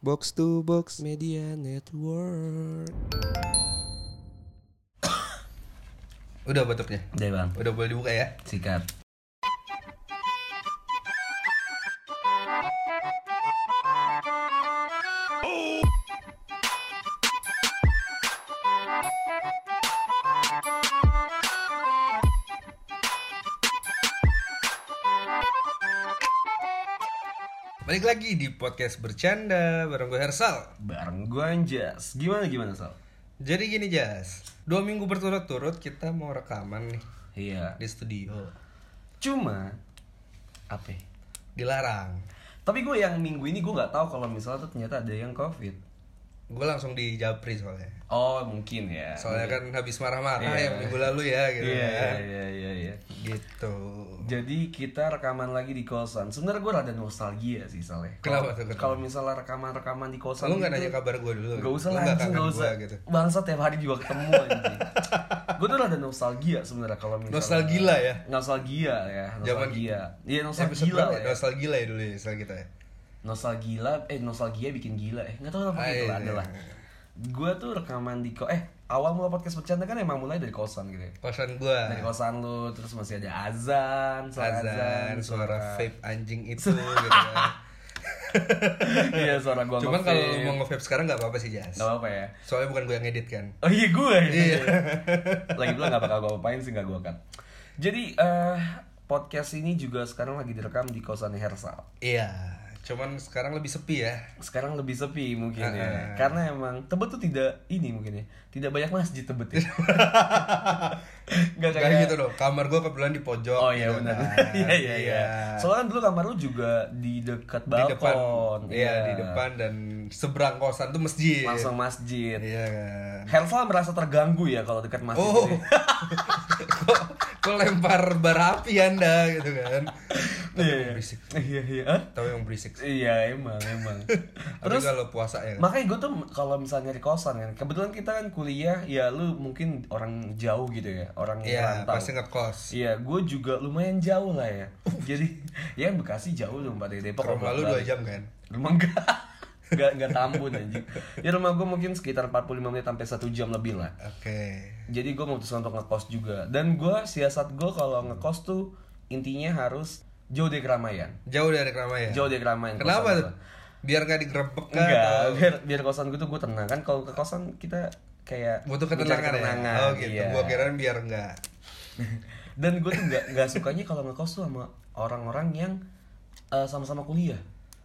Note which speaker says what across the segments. Speaker 1: Box to Box Media Network.
Speaker 2: Udah batuknya?
Speaker 3: Udah bang,
Speaker 2: Udah boleh dibuka ya?
Speaker 3: sikat.
Speaker 2: Balik lagi di podcast bercanda bareng gue Hersal
Speaker 3: Bareng gue Anjas. Gimana gimana Sal?
Speaker 2: Jadi gini Jas Dua minggu berturut-turut kita mau rekaman nih
Speaker 3: Iya.
Speaker 2: Di studio
Speaker 3: Cuma apa? ya?
Speaker 2: Dilarang
Speaker 3: Tapi gue yang minggu ini gue nggak tahu kalau misalnya tuh ternyata ada yang covid.
Speaker 2: Gue langsung di Japri soalnya
Speaker 3: Oh mungkin ya.
Speaker 2: Soalnya kan habis marah-marah
Speaker 3: Iya.
Speaker 2: yang minggu lalu ya gitu
Speaker 3: Iya
Speaker 2: ya.
Speaker 3: iya iya iya. iya.
Speaker 2: Gitu
Speaker 3: Jadi kita rekaman lagi di kosan. Sebenarnya gue rada nostalgia sih Saleh.
Speaker 2: Kenapa
Speaker 3: Kalau-
Speaker 2: tuh, kenapa?
Speaker 3: Kalau misalnya rekaman-rekaman di kosan.
Speaker 2: Lu nggak
Speaker 3: gitu,
Speaker 2: nanya kabar gue dulu
Speaker 3: Gak usah
Speaker 2: Lu
Speaker 3: lah,
Speaker 2: nggak
Speaker 3: anjing,
Speaker 2: kangen
Speaker 3: gak usah.
Speaker 2: gua gitu
Speaker 3: Bangsa tiap hari juga ketemu anjing. gue tuh rada nostalgia sebenarnya kalau misalnya.
Speaker 2: Nostalgila ya?
Speaker 3: Nostalgia ya,
Speaker 2: Zaman- gitu.
Speaker 3: nostalgia. Iya,
Speaker 2: Episode
Speaker 3: nostalgia
Speaker 2: berapa
Speaker 3: lah
Speaker 2: ya?
Speaker 3: ya.
Speaker 2: Nostalgia lah ya dulu ya Nostalgia kita ya
Speaker 3: Nostalgia, eh nostalgia bikin gila eh. Enggak tahu kenapa
Speaker 2: Ah,
Speaker 3: gitu
Speaker 2: iya,
Speaker 3: lah, adalah.
Speaker 2: iya.
Speaker 3: Gue tuh rekaman di ko eh awal mula podcast bercanda kan emang mulai dari kosan gitu ya.
Speaker 2: Kosan gue
Speaker 3: Dari kosan lu, terus masih ada azan, suara azan,
Speaker 2: Ah. Azan, suara vape anjing itu gitu kan
Speaker 3: Iya, suara gua
Speaker 2: Cuman kalau lu mau
Speaker 3: nge-vape.
Speaker 2: nge-vape sekarang nggak apa-apa sih Jas.
Speaker 3: Gak apa-apa ya.
Speaker 2: Soalnya bukan gue yang ngedit kan.
Speaker 3: Oh iya gue ya.
Speaker 2: Iya.
Speaker 3: Lagi pula gak bakal gue apain sih gak gue kan. Jadi eh podcast ini juga sekarang lagi direkam di kosan Hersal.
Speaker 2: Iya. Cuman sekarang lebih sepi ya.
Speaker 3: Sekarang lebih sepi mungkin
Speaker 2: Heeh.
Speaker 3: ya. Karena emang Tebet tuh tidak ini mungkin ya. Tidak banyak masjid Tebet ya. gak
Speaker 2: Gak gitu dong. Kamar gue kebetulan di pojok.
Speaker 3: Oh iya
Speaker 2: gitu
Speaker 3: benar.
Speaker 2: kan.
Speaker 3: Iya iya iya. Soalnya kan dulu kamar lu juga di dekat
Speaker 2: di depan.
Speaker 3: balkon.
Speaker 2: Iya di depan dan seberang kosan tuh masjid.
Speaker 3: Langsung masjid.
Speaker 2: Iya kan.
Speaker 3: Hersal merasa terganggu ya kalau dekat masjid.
Speaker 2: Oh.
Speaker 3: gitu ya.
Speaker 2: kok, kok lempar bara api anda gitu kan. Tapi
Speaker 3: Iya,
Speaker 2: yang
Speaker 3: iya.
Speaker 2: berisik.
Speaker 3: Iya, iya. Hah?
Speaker 2: Tahu yang berisik. sih.
Speaker 3: Iya, emang, emang.
Speaker 2: Tapi
Speaker 3: Terus
Speaker 2: kalau puasa ya.
Speaker 3: makanya gue tuh kalau misalnya di kosan kan, kebetulan kita kan kuliah, ya lu mungkin orang jauh gitu ya, orang
Speaker 2: Iya,
Speaker 3: yang merantau.
Speaker 2: pasti ngekos.
Speaker 3: Iya, gue juga lumayan jauh lah ya. Jadi, ya Bekasi jauh dong, Pak dari
Speaker 2: Ke
Speaker 3: Depok.
Speaker 2: rumah lu 2
Speaker 3: bolak-balik.
Speaker 2: jam kan?
Speaker 3: Rumah enggak. Enggak, enggak tambun anjing. Ya rumah gue mungkin sekitar 45 menit sampai 1 jam lebih lah.
Speaker 2: Oke.
Speaker 3: Jadi gue memutuskan untuk ngekos juga. Dan gue siasat gue kalau ngekos tuh intinya harus jauh dari keramaian.
Speaker 2: Jauh dari keramaian.
Speaker 3: Jauh dari keramaian.
Speaker 2: Iya. Kenapa
Speaker 3: kosan
Speaker 2: tuh?
Speaker 3: gua.
Speaker 2: Biar gak digerebek kan?
Speaker 3: Enggak,
Speaker 2: atau
Speaker 3: biar biar kosan gue tuh gue tenang kan kalau ke kosan kita kayak
Speaker 2: Butuh
Speaker 3: mencari
Speaker 2: ketenangan,
Speaker 3: ketenangan,
Speaker 2: ya? Oh gitu,
Speaker 3: iya.
Speaker 2: gua kirain biar enggak
Speaker 3: Dan gue tuh nggak nggak sukanya kalau ngekos tuh sama orang-orang yang eh, sama-sama kuliah.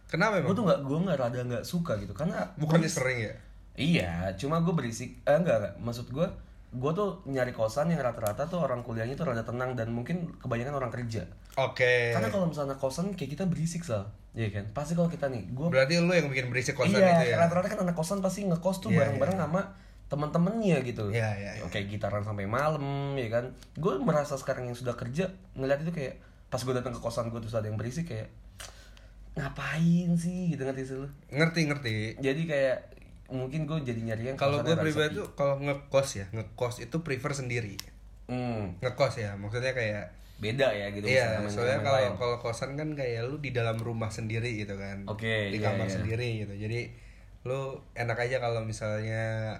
Speaker 2: Kenapa
Speaker 3: Gue
Speaker 2: emang?
Speaker 3: tuh nggak gue nggak rada nggak suka gitu karena
Speaker 2: Bukannya sering ya?
Speaker 3: Iya, cuma gue berisik, eh, enggak, enggak, maksud gue, gue tuh nyari kosan yang rata-rata tuh orang kuliahnya tuh rada tenang dan mungkin kebanyakan orang kerja.
Speaker 2: Oke
Speaker 3: Karena kalau misalnya kosan kayak kita berisik sal, iya kan? Pasti kalau kita nih, gue
Speaker 2: Berarti lu yang bikin berisik kosan
Speaker 3: iya,
Speaker 2: itu ya?
Speaker 3: rata-rata kan anak kosan pasti ngekos tuh
Speaker 2: Iya,
Speaker 3: bareng-bareng sama teman-temannya gitu.
Speaker 2: Iya, iya, iya.
Speaker 3: Kayak gitaran sampai malam, ya kan? Gue merasa sekarang yang sudah kerja ngeliat itu kayak pas gue datang ke kosan gue terus ada yang berisik kayak ngapain sih gitu ngerti sih lu?
Speaker 2: Ngerti, ngerti
Speaker 3: jadi kayak mungkin gue jadi nyari yang
Speaker 2: Kalau
Speaker 3: kosan
Speaker 2: gue
Speaker 3: yang
Speaker 2: pribadi
Speaker 3: sepi.
Speaker 2: tuh, kalau ngekos ya Ngekos itu prefer sendiri
Speaker 3: hmm,
Speaker 2: Ngekos ya, maksudnya kayak
Speaker 3: beda ya gitu
Speaker 2: Iya,
Speaker 3: misalnya
Speaker 2: soalnya
Speaker 3: sama yang
Speaker 2: kalau
Speaker 3: lain.
Speaker 2: kalau kosan kan kayak lu di dalam rumah sendiri gitu kan.
Speaker 3: Oke,
Speaker 2: Di
Speaker 3: iya,
Speaker 2: kamar
Speaker 3: iya.
Speaker 2: sendiri gitu. Jadi lu enak aja kalau misalnya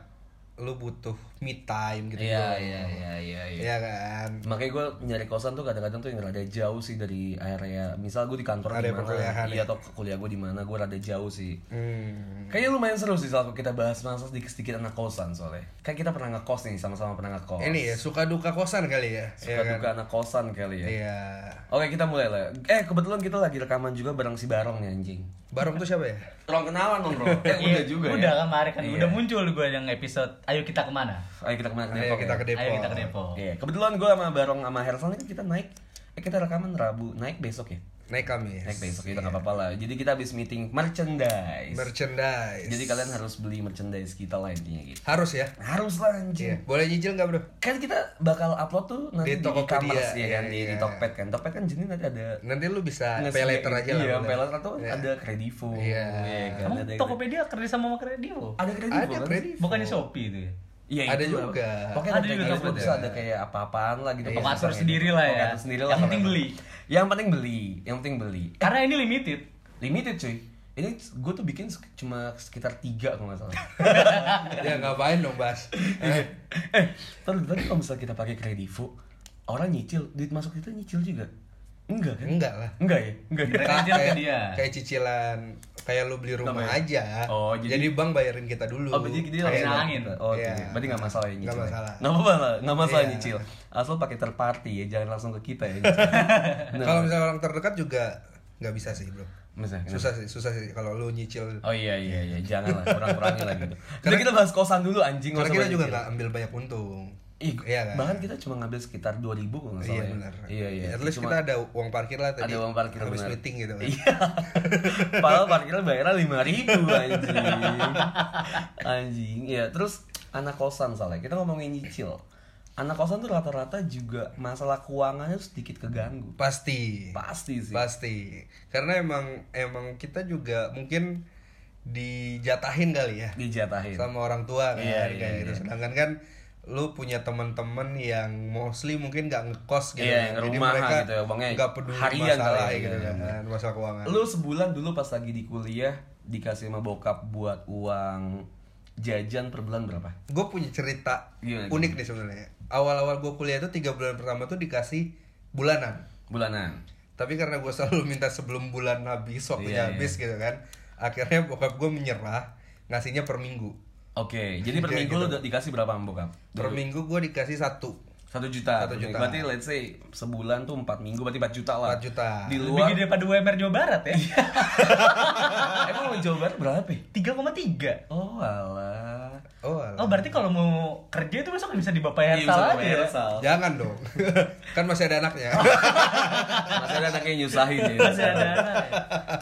Speaker 2: lu butuh me time gitu.
Speaker 3: iya iya iya iya iya.
Speaker 2: Iya kan.
Speaker 3: makanya gue nyari kosan tuh kadang-kadang tuh yang rada jauh sih dari area misal gue di kantor
Speaker 2: Area
Speaker 3: di mana
Speaker 2: perkuliahan ya.
Speaker 3: iya atau kuliah gue di mana gue rada jauh sih
Speaker 2: Hmm.
Speaker 3: Kayaknya lumayan seru sih kalau kita bahas masa sedikit-sedikit anak kosan soalnya. Kan kita pernah ngekos nih, sama-sama pernah ngekos.
Speaker 2: Ini ya suka duka kosan kali ya.
Speaker 3: Suka
Speaker 2: Iya kan?
Speaker 3: duka anak kosan kali ya.
Speaker 2: Iya.
Speaker 3: Oke, kita mulai lah. Eh, kebetulan kita lagi rekaman juga bareng si Barong nih anjing.
Speaker 2: Barong tuh siapa ya?
Speaker 3: Rong kenalan dong, Rong.
Speaker 2: Iya,
Speaker 3: Eh, udah juga ya.
Speaker 4: Iya, Udah kemarin kan,
Speaker 3: Iya.
Speaker 4: udah muncul gue yang episode Ayo kita kemana?
Speaker 3: ya? Ayo kita kemana?
Speaker 2: Ayo Iya, kita ke Depok.
Speaker 4: Ayo kita ke Depok
Speaker 3: Iya, kebetulan gue sama Barong sama Hersal ini kita naik eh kita rekaman Rabu, naik besok ya.
Speaker 2: Naik kami.
Speaker 3: Naik besok kita nggak apa-apa lah. Jadi kita habis meeting merchandise.
Speaker 2: Iya. Merchandise.
Speaker 3: Jadi kalian harus beli merchandise kita lah intinya gitu.
Speaker 2: harus ya.
Speaker 3: Harus lah
Speaker 2: Iya.
Speaker 3: anjing.
Speaker 2: Boleh nyicil nggak bro?
Speaker 3: Kan kita bakal upload tuh nanti
Speaker 2: Di
Speaker 3: di,
Speaker 2: Tokopedia,
Speaker 3: Commerce, ya
Speaker 2: iya,
Speaker 3: kan di, di
Speaker 2: iya.
Speaker 3: Tokped kan. Tokped kan jadi nanti ada
Speaker 2: Nanti lu bisa pay
Speaker 3: ngesediain-
Speaker 2: later aja lah.
Speaker 3: Iya,
Speaker 2: udah.
Speaker 3: pay later tuh
Speaker 2: Iya.
Speaker 3: ada kredivo.
Speaker 2: Iya.
Speaker 3: kan?
Speaker 4: Kamu
Speaker 3: Ada
Speaker 4: Tokopedia kerja sama sama Kredivo?
Speaker 3: ada kredivo.
Speaker 2: Ada
Speaker 3: kan?
Speaker 2: kredit.
Speaker 4: Bukannya Shopee itu ya?
Speaker 3: Iya
Speaker 2: Ada
Speaker 3: itu lah.
Speaker 2: juga.
Speaker 3: Pokoknya
Speaker 4: Ada
Speaker 3: ada
Speaker 4: juga
Speaker 3: juga
Speaker 4: Tokopedia.
Speaker 3: terus ada kayak apa-apaan lah gitu.
Speaker 4: Iya.
Speaker 3: Pokoknya
Speaker 4: Pengatur
Speaker 3: ada-
Speaker 4: sendiri lah ya.
Speaker 3: pengatur sendiri lah
Speaker 4: Yang penting
Speaker 3: pokoknya.
Speaker 4: beli.
Speaker 3: Yang penting beli. Yang penting beli.
Speaker 4: Karena ini limited
Speaker 3: Limited cuy. Ini gue tuh bikin sek- cuma sekitar tiga kalau nggak salah.
Speaker 2: ya ngapain dong Bas Eh,
Speaker 3: eh, terus tadi kalau misalnya kita pakai kredivo, orang nyicil, duit masuk kita nyicil juga. Enggak kan?
Speaker 2: enggak lah
Speaker 3: Enggak ya? Enggak ya?
Speaker 4: Mereka ajar ke dia.
Speaker 2: kayak cicilan kayak lu beli rumah
Speaker 3: Nambah ya?
Speaker 2: aja
Speaker 3: Oh,
Speaker 2: jadi,
Speaker 3: jadi-
Speaker 2: bank bayarin kita dulu
Speaker 3: Oh, berarti dia langsung
Speaker 2: Kayak-
Speaker 4: nalangin?
Speaker 3: Oh,
Speaker 2: Iya.
Speaker 3: iya. Berarti nggak masalah ya
Speaker 2: Nggak
Speaker 3: nyicil. ya?
Speaker 2: masalah.
Speaker 3: Nggak masalah, nggak masalah
Speaker 2: Iya.
Speaker 3: nyicil. Asal pakai third party ya, jangan langsung ke kita ya. Nah,
Speaker 2: kalau misalnya orang terdekat juga nggak bisa sih bro
Speaker 3: misalnya, kenapa?
Speaker 2: susah sih susah sih kalau lu nyicil
Speaker 3: Oh iya iya iya, janganlah kurang-kurangin lah gitu. Karena kita bahas kosan dulu anjing.
Speaker 2: karena kita
Speaker 3: nggak usah bahas
Speaker 2: juga
Speaker 3: nyicil.
Speaker 2: nggak ambil banyak untung
Speaker 3: Ih,
Speaker 2: iya kan
Speaker 3: bahkan kita cuma ngambil sekitar 2000 kalau nggak
Speaker 2: iya
Speaker 3: salah ya.
Speaker 2: benar
Speaker 3: Iya iya.
Speaker 2: at least
Speaker 3: Cuma-
Speaker 2: kita ada uang parkir lah tadi
Speaker 3: ada uang parkir
Speaker 2: habis
Speaker 3: benar.
Speaker 2: meeting gitu kan
Speaker 3: iya padahal parkirnya bayarnya lima ribu anjing anjing ya terus anak kosan soalnya kita ngomongin nyicil anak kosan tuh rata-rata juga masalah keuangannya tuh sedikit keganggu
Speaker 2: pasti
Speaker 3: pasti sih
Speaker 2: pasti karena emang emang kita juga mungkin dijatahin kali ya
Speaker 3: dijatahin
Speaker 2: sama orang tua kan
Speaker 3: Iya,
Speaker 2: kayak
Speaker 3: iya,
Speaker 2: gitu.
Speaker 3: iya.
Speaker 2: Sedangkan kan lu punya teman-teman yang mostly mungkin nggak ngekos gitu. kan.
Speaker 3: Iya, yang
Speaker 2: Jadi
Speaker 3: rumahan
Speaker 2: mereka
Speaker 3: gitu ya, uangnya
Speaker 2: nggak peduli
Speaker 3: harian
Speaker 2: masalah
Speaker 3: kali ya,
Speaker 2: gitu
Speaker 3: iya,
Speaker 2: kan, masalah keuangan.
Speaker 3: lu sebulan dulu pas lagi di kuliah dikasih sama bokap buat uang jajan per bulan berapa
Speaker 2: Gue punya cerita
Speaker 3: Iya, Gimana,
Speaker 2: unik nih sebenarnya. Awal-awal gue kuliah itu tiga bulan pertama tuh dikasih bulanan.
Speaker 3: bulanan
Speaker 2: Tapi karena gue selalu minta sebelum bulan habis,
Speaker 3: Iya,
Speaker 2: waktunya
Speaker 3: iya.
Speaker 2: habis gitu kan. Akhirnya bokap gue menyerah, ngasihnya per minggu.
Speaker 3: Oke, jadi per
Speaker 2: Iya,
Speaker 3: minggu
Speaker 2: gitu.
Speaker 3: lu udah dikasih berapa sama bokap?
Speaker 2: Per minggu gue dikasih satu,
Speaker 3: satu juta.
Speaker 2: Satu juta.
Speaker 3: Berarti let's say sebulan tuh empat minggu berarti empat juta lah.
Speaker 2: 4 juta.
Speaker 3: Di
Speaker 4: Lebih
Speaker 3: luar Iya.
Speaker 4: gede daripada UMR Jawa Barat ya.
Speaker 3: emang Jawa Barat berapa? ya?
Speaker 4: 3,3.
Speaker 3: Oh alah.
Speaker 2: Oh, alah.
Speaker 4: Oh berarti kalau mau kerja itu besok bisa dibapak
Speaker 3: Iya, bisa
Speaker 4: Hersal Eh, aja. ya?
Speaker 3: dibayar Hersal.
Speaker 2: Jangan dong, kan masih ada anaknya.
Speaker 3: Masih ada anaknya yang nyusahin ya.
Speaker 4: Masih ada Iya, anak.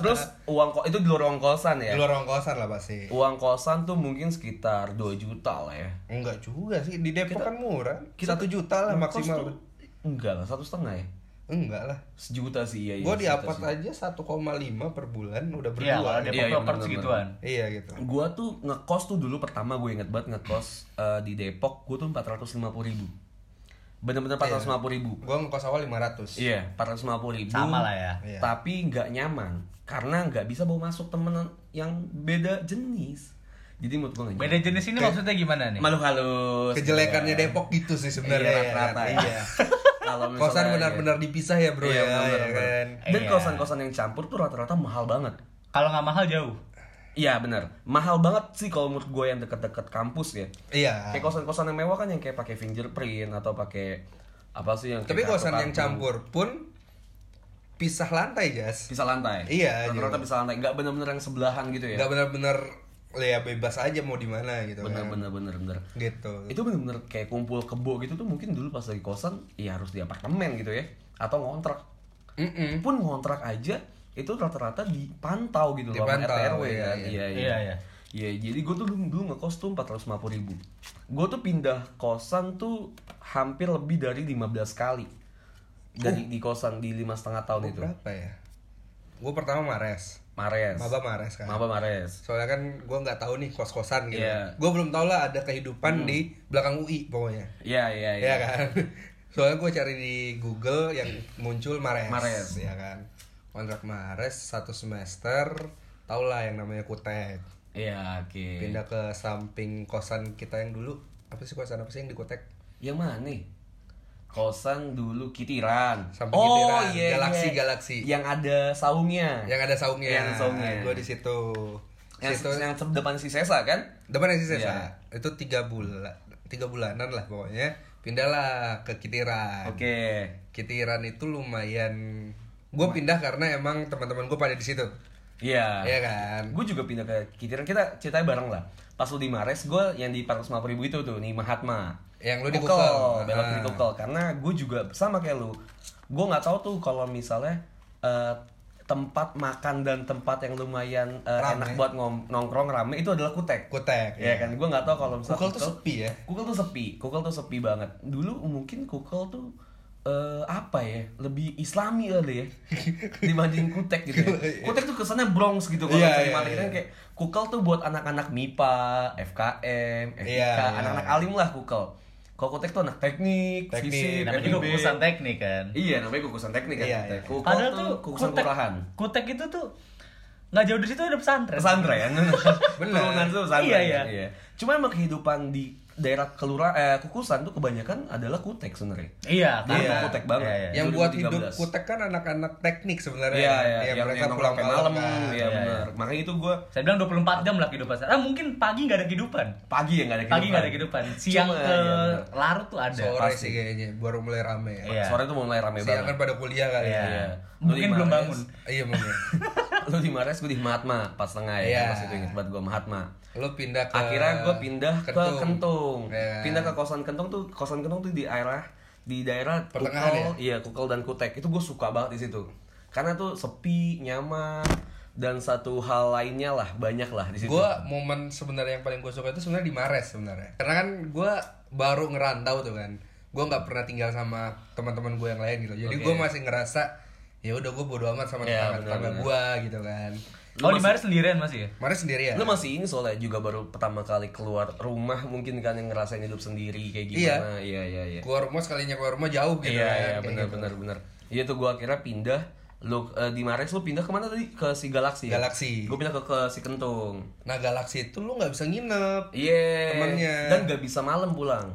Speaker 3: Terus uang ko itu di luar uang kosan ya.
Speaker 2: Di luar ruang kosan lah pasti.
Speaker 3: Uang kosan tuh mungkin sekitar 2 juta lah ya.
Speaker 2: Enggak juga sih, di Depok
Speaker 3: Kita-
Speaker 2: kan murah.
Speaker 3: Kita-
Speaker 2: Satu juta lah
Speaker 3: Ngekos
Speaker 2: maksimal.
Speaker 3: tuh- Enggak lah, satu setengah ya.
Speaker 2: Enggak lah.
Speaker 3: Sejuta sih iya. iya,
Speaker 2: Gue di
Speaker 3: sejuta
Speaker 2: apart
Speaker 3: sih.
Speaker 2: aja 1,5 per bulan udah
Speaker 4: Iya,
Speaker 2: berdua.
Speaker 4: kalau
Speaker 2: Iya,
Speaker 4: dia
Speaker 3: Iya, iya,
Speaker 4: proper
Speaker 3: bener-bener.
Speaker 4: segituan.
Speaker 2: gitu.
Speaker 3: Gua tuh ngekos tuh dulu pertama gue inget banget ngekos eh, di Depok gue tuh 450 ribu
Speaker 2: Iya.
Speaker 3: Bener-bener 450 ribu
Speaker 2: Gue ngekos awal 500.
Speaker 3: Iya, 450 ribu.
Speaker 4: Sama lah ya.
Speaker 2: Iya.
Speaker 3: Tapi nggak nyaman karena nggak bisa bawa masuk temen yang beda jenis. Jadi menurut gue nggak
Speaker 4: Beda jenis ini maksudnya gimana nih?
Speaker 3: malu halus.
Speaker 2: Kejelekannya Depok gitu sih sebenarnya.
Speaker 3: Iya,
Speaker 2: ya
Speaker 3: rata-rata
Speaker 2: kan?
Speaker 3: ya.
Speaker 2: Iya.
Speaker 3: Kalau misalnya-
Speaker 2: Kosan benar-benar dipisah ya, Bro
Speaker 3: Iya,
Speaker 2: ya, ya
Speaker 3: benar-benar,
Speaker 2: kan.
Speaker 3: benar-benar. Dan
Speaker 4: Iya.
Speaker 3: kosan-kosan yang campur tuh rata-rata mahal banget.
Speaker 4: Kalau nggak mahal jauh.
Speaker 3: Iya benar, mahal banget sih kalau menurut gue yang deket-deket kampus ya.
Speaker 2: Iya.
Speaker 3: Kayak kosan-kosan yang mewah kan yang kayak pakai fingerprint atau pakai apa sih yang
Speaker 2: Tapi
Speaker 3: kayak
Speaker 2: kosan yang
Speaker 3: kartu-kartu.
Speaker 2: campur pun pisah lantai, Jas.
Speaker 3: pisah lantai.
Speaker 2: Iya,
Speaker 3: Rata-rata
Speaker 2: jadi-
Speaker 3: pisah lantai, nggak benar-benar yang sebelahan gitu ya.
Speaker 2: Enggak benar-benar ya bebas aja mau di mana gitu kan.
Speaker 3: Bener-bener bener-bener.
Speaker 2: Gitu.
Speaker 3: itu bener-bener kayak kumpul kebo gitu tuh mungkin dulu pas lagi kosan ya harus di apartemen gitu ya atau ngontrak
Speaker 2: Mm-mm.
Speaker 3: pun ngontrak aja itu rata-rata dipantau gitu loh sama
Speaker 2: Dipantau,
Speaker 3: RT RW
Speaker 2: iya,
Speaker 3: kan
Speaker 2: iya.
Speaker 3: iya iya
Speaker 4: Iya, iya.
Speaker 3: Iya, jadi gue tuh dulu, dulu ngekos tuh 450 ribu Gue tuh pindah kosan tuh hampir lebih dari 15 kali
Speaker 2: Oh.
Speaker 3: Dari di kosan di lima setengah tahun
Speaker 2: Gua
Speaker 3: itu
Speaker 2: berapa ya? Gue pertama Mares.
Speaker 3: Mares
Speaker 2: Maba Mares kan.
Speaker 3: Maba Mares
Speaker 2: Soalnya kan gue nggak tahu nih kos-kosan gitu.
Speaker 3: Iya.
Speaker 2: Gue belum tau lah ada kehidupan di belakang UI pokoknya.
Speaker 3: Iya,
Speaker 2: Iya
Speaker 3: iya, iya
Speaker 2: kan. Soalnya gue cari di Google yang muncul Mares.
Speaker 3: Mares.
Speaker 2: ya kan. Kontrak Mares satu semester. Tau lah yang namanya Kutek.
Speaker 3: Iya, oke
Speaker 2: Pindah ke samping kosan kita yang dulu. Apa sih kosan apa sih yang di Kutek?
Speaker 3: Yang mana nih? Kosan dulu Kitiran. Oh, iya,
Speaker 2: Samping Kitiran, Galaxy, Galaxy.
Speaker 3: Yang ada saungnya.
Speaker 2: Yang ada saungnya.
Speaker 3: Eh. Yang ada saungnya.
Speaker 2: Gue di situ.
Speaker 3: yang,
Speaker 2: situ
Speaker 3: yang depan si Sesa kan?
Speaker 2: depan yang sisa
Speaker 3: Iya.
Speaker 2: itu tiga bulan tiga bulanan lah pokoknya pindahlah ke Kitiran
Speaker 3: Oke.
Speaker 2: Kitiran itu lumayan gue pindah karena emang teman-teman gue pada di situ
Speaker 3: Iya.
Speaker 2: Iya kan
Speaker 3: Gue juga pindah ke Kitiran. Kita ceritanya bareng lah. Pas lu di Mares, gue yang di 450 ribu itu tuh, nih Mahatma.
Speaker 2: Yang lu di
Speaker 3: Kukel,
Speaker 2: Kukel.
Speaker 3: Belok kiri
Speaker 2: Ah.
Speaker 3: Kukel. Karena gue juga sama kayak lu. Gue nggak tahu tuh kalau misalnya eh, tempat makan dan tempat yang lumayan eh,
Speaker 2: Rame.
Speaker 3: enak buat ngom- nongkrong rame itu adalah kutek.
Speaker 2: kutek
Speaker 3: Iya kan, gue nggak tahu kalau misalnya
Speaker 2: Kukel tuh sepi ya
Speaker 3: Kukel tuh sepi, Kukel tuh sepi banget. Dulu mungkin Kukel tuh eh, apa ya lebih islami kali ya dibanding kutek gitu ya. kutek tuh kesannya bronx gitu kalau
Speaker 2: Iya,
Speaker 3: misalnya
Speaker 2: iya,
Speaker 3: malah kita
Speaker 2: iya.
Speaker 3: kayak kukel tuh buat anak-anak mipa fkm fik
Speaker 2: Iya, iya.
Speaker 3: anak-anak alim lah kukel kalau kutek tuh anak teknik,
Speaker 2: Teknik,
Speaker 3: fisik
Speaker 4: Namanya
Speaker 3: FIB.
Speaker 4: juga kukusan teknik kan.
Speaker 3: iya namanya kukusan teknik kan
Speaker 2: Iya,
Speaker 3: kutek
Speaker 2: iya.
Speaker 3: kukel
Speaker 4: Padahal
Speaker 3: tuh
Speaker 4: tuh
Speaker 3: kukusan
Speaker 4: kutek,
Speaker 3: kurahan
Speaker 4: kutek itu tuh nggak jauh dari situ ada pesantren
Speaker 3: pesantren
Speaker 2: Bener.
Speaker 3: ya? turunan tuh pesantren
Speaker 4: Iya, iya.
Speaker 3: cuma emang kehidupan di daerah kelurahan eh, kukusan tuh kebanyakan adalah kutek sebenarnya Nah,
Speaker 4: iya kan
Speaker 2: Iya.
Speaker 3: itu kutek banget Ya.
Speaker 4: Iya, iya.
Speaker 2: yang buat hidup
Speaker 3: 2013.
Speaker 2: kutek kan anak-anak teknik sebenarnya
Speaker 3: Iya, iya,
Speaker 2: Ya,
Speaker 3: yang,
Speaker 2: mereka
Speaker 3: yang
Speaker 2: pulang
Speaker 3: malam,
Speaker 2: malam kan.
Speaker 3: iya
Speaker 4: Iya,
Speaker 3: benar. Makanya itu gue
Speaker 4: saya bilang 24 jam lah kehidupan ah mungkin pagi nggak ada kehidupan
Speaker 3: pagi ya nggak ada kehidupan.
Speaker 4: pagi nggak ada kehidupan siang
Speaker 3: Cuma,
Speaker 4: ke
Speaker 3: iya, benar.
Speaker 4: larut tuh ada
Speaker 2: sore
Speaker 3: pasti.
Speaker 2: sih kayaknya baru mulai rame ya
Speaker 4: Iya.
Speaker 3: Sore tuh mulai rame
Speaker 2: siang
Speaker 3: banget.
Speaker 2: kan pada kuliah kali
Speaker 4: Iya.
Speaker 2: ya
Speaker 3: Iya.
Speaker 4: Mungkin
Speaker 3: Lu di
Speaker 4: belum
Speaker 3: Mares,
Speaker 4: bangun.
Speaker 2: iya mungkin
Speaker 3: Lu di Mares, gue di Mahatma pas tengah ya.
Speaker 2: Iya.
Speaker 3: Pas itu inget banget gue Mahatma.
Speaker 2: lo pindah ke
Speaker 3: Akhirnya gue pindah ke
Speaker 2: Kentung.
Speaker 3: Kentung.
Speaker 2: Iya.
Speaker 3: Pindah ke kosan Kentung tuh kosan Kentung tuh di daerah di daerah
Speaker 2: Pertengahan ya?
Speaker 3: Kukel, iya Kukel dan Kutek. Itu gue suka banget di situ. Karena tuh sepi, nyaman dan satu hal lainnya lah banyak lah di situ.
Speaker 2: gue momen sebenarnya yang paling gue suka itu sebenarnya di Mares sebenarnya karena kan gue baru ngerantau tuh kan gue nggak pernah tinggal sama teman-teman gue yang lain gitu jadi gue masih ngerasa ya udah gue bodo amat sama
Speaker 3: Iya,
Speaker 2: tetangga-tetangga
Speaker 3: benar-benar.
Speaker 2: gue gitu kan
Speaker 4: oh di mana sendirian masih ya
Speaker 2: Mares sendirian
Speaker 3: Lu masih ini soalnya juga baru pertama kali keluar rumah mungkin kan yang ngerasain hidup sendiri kayak
Speaker 2: Iya.
Speaker 3: gimana. Iya, iya, iya.
Speaker 2: keluar rumah sekalinya keluar rumah jauh gitu
Speaker 3: Iya,
Speaker 2: kan
Speaker 3: iya,
Speaker 2: kayak
Speaker 3: benar
Speaker 2: gitu.
Speaker 3: benar benar. Iya tuh gua akhirnya pindah lu eh, di Mares lu pindah kemana tadi ke si Galaxy. ya?
Speaker 2: Galaxy.
Speaker 3: Gua pindah ke, ke si Kentung.
Speaker 2: nah galaksi itu lu nggak bisa nginep
Speaker 3: Iya.
Speaker 2: Temennya.
Speaker 3: Dan gak bisa malam pulang.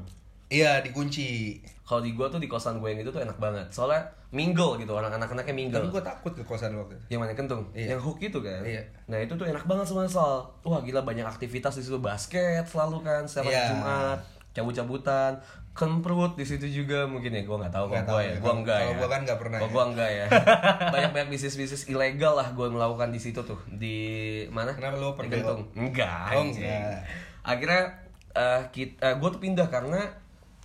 Speaker 2: iya dikunci
Speaker 3: Kalau di gua tuh di kosan gue yang itu tuh enak banget. Soalnya mingle gitu anak-anak-anaknya mingle.
Speaker 2: tapi gue takut ke kosan waktu itu
Speaker 3: Yang mana kentung?
Speaker 2: Iya.
Speaker 3: Yang hook itu kan?
Speaker 2: Iya.
Speaker 3: Nah itu tuh enak banget sama Sal. Wah gila banyak aktivitas di situ basket selalu kan setiap hari
Speaker 2: Iya.
Speaker 3: Jumat cabut-cabutan kemprut di situ juga mungkin ya gue nggak tahu
Speaker 2: Nggak
Speaker 3: kalau gue
Speaker 2: tahu
Speaker 3: ya
Speaker 2: ya.
Speaker 3: gue enggak
Speaker 2: Kalau
Speaker 3: ya
Speaker 2: gua kan nggak pernah
Speaker 3: kalau
Speaker 2: ya.
Speaker 3: gue enggak ya banyak banyak bisnis bisnis ilegal lah gue melakukan di situ tuh di mana
Speaker 2: Kenapa lu
Speaker 3: Di
Speaker 2: open
Speaker 3: Kentung. enggak
Speaker 2: Oh,
Speaker 3: anjing.
Speaker 2: enggak.
Speaker 3: akhirnya eh, kita gue tuh pindah karena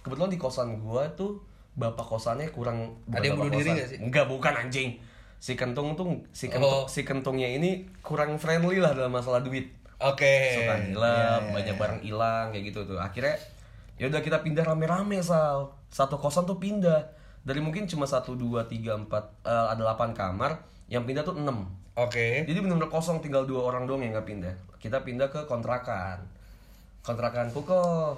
Speaker 3: kebetulan di kosan gue tuh bapak kosannya kurang bukan
Speaker 2: Ada yang
Speaker 3: bapak
Speaker 2: bunuh diri
Speaker 3: kosan.
Speaker 2: nggak sih?
Speaker 3: Enggak, bukan anjing. Si kentung tuh si kentung,
Speaker 2: Oh.
Speaker 3: si kentungnya ini kurang friendly lah dalam masalah duit.
Speaker 2: oke Iya,
Speaker 3: Suka ngilang, banyak barang hilang kayak gitu tuh. Akhirnya ya udah kita pindah rame-rame sal. Satu kosan tuh pindah. Dari mungkin cuma satu dua tiga empat eh, ada 8 kamar, yang pindah tuh 6.
Speaker 2: oke
Speaker 3: Jadi benar-benar kosong tinggal dua orang doang yang nggak pindah. Kita pindah ke kontrakan. Kontrakan kuko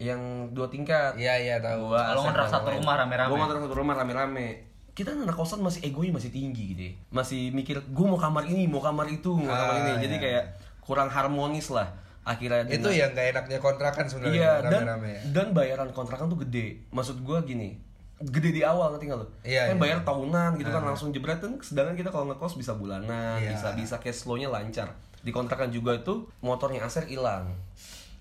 Speaker 3: yang dua tingkat.
Speaker 2: iya iya tahu
Speaker 3: Gua
Speaker 4: Kalau ngontrak
Speaker 3: asal
Speaker 4: satu
Speaker 3: rame-rame.
Speaker 4: rumah rame-rame.
Speaker 3: Gua ngontrak satu rumah rame-rame. Kita anak kosan masih egonya masih tinggi gitu ya. Masih mikir gue mau kamar ini, mau kamar itu, mau kamar
Speaker 2: Ah,
Speaker 3: ini. Jadi
Speaker 2: iya.
Speaker 3: kayak kurang harmonis lah. Akhirnya dengan-
Speaker 2: itu yang nggak enaknya kontrakan sebenarnya
Speaker 3: Iya, dan
Speaker 2: rame-rame ya
Speaker 3: dan bayaran kontrakan tuh gede. Maksud gua gini, gede di awal ngerti nggak lo?
Speaker 2: Iya,
Speaker 3: kan
Speaker 2: iya.
Speaker 3: bayar tahunan gitu kan langsung jebret kan sedangkan kita kalau ngekos bisa bulanan,
Speaker 2: Iya.
Speaker 3: bisa bisa cash flow-nya lancar. Di kontrakan juga itu motornya Aser hilang.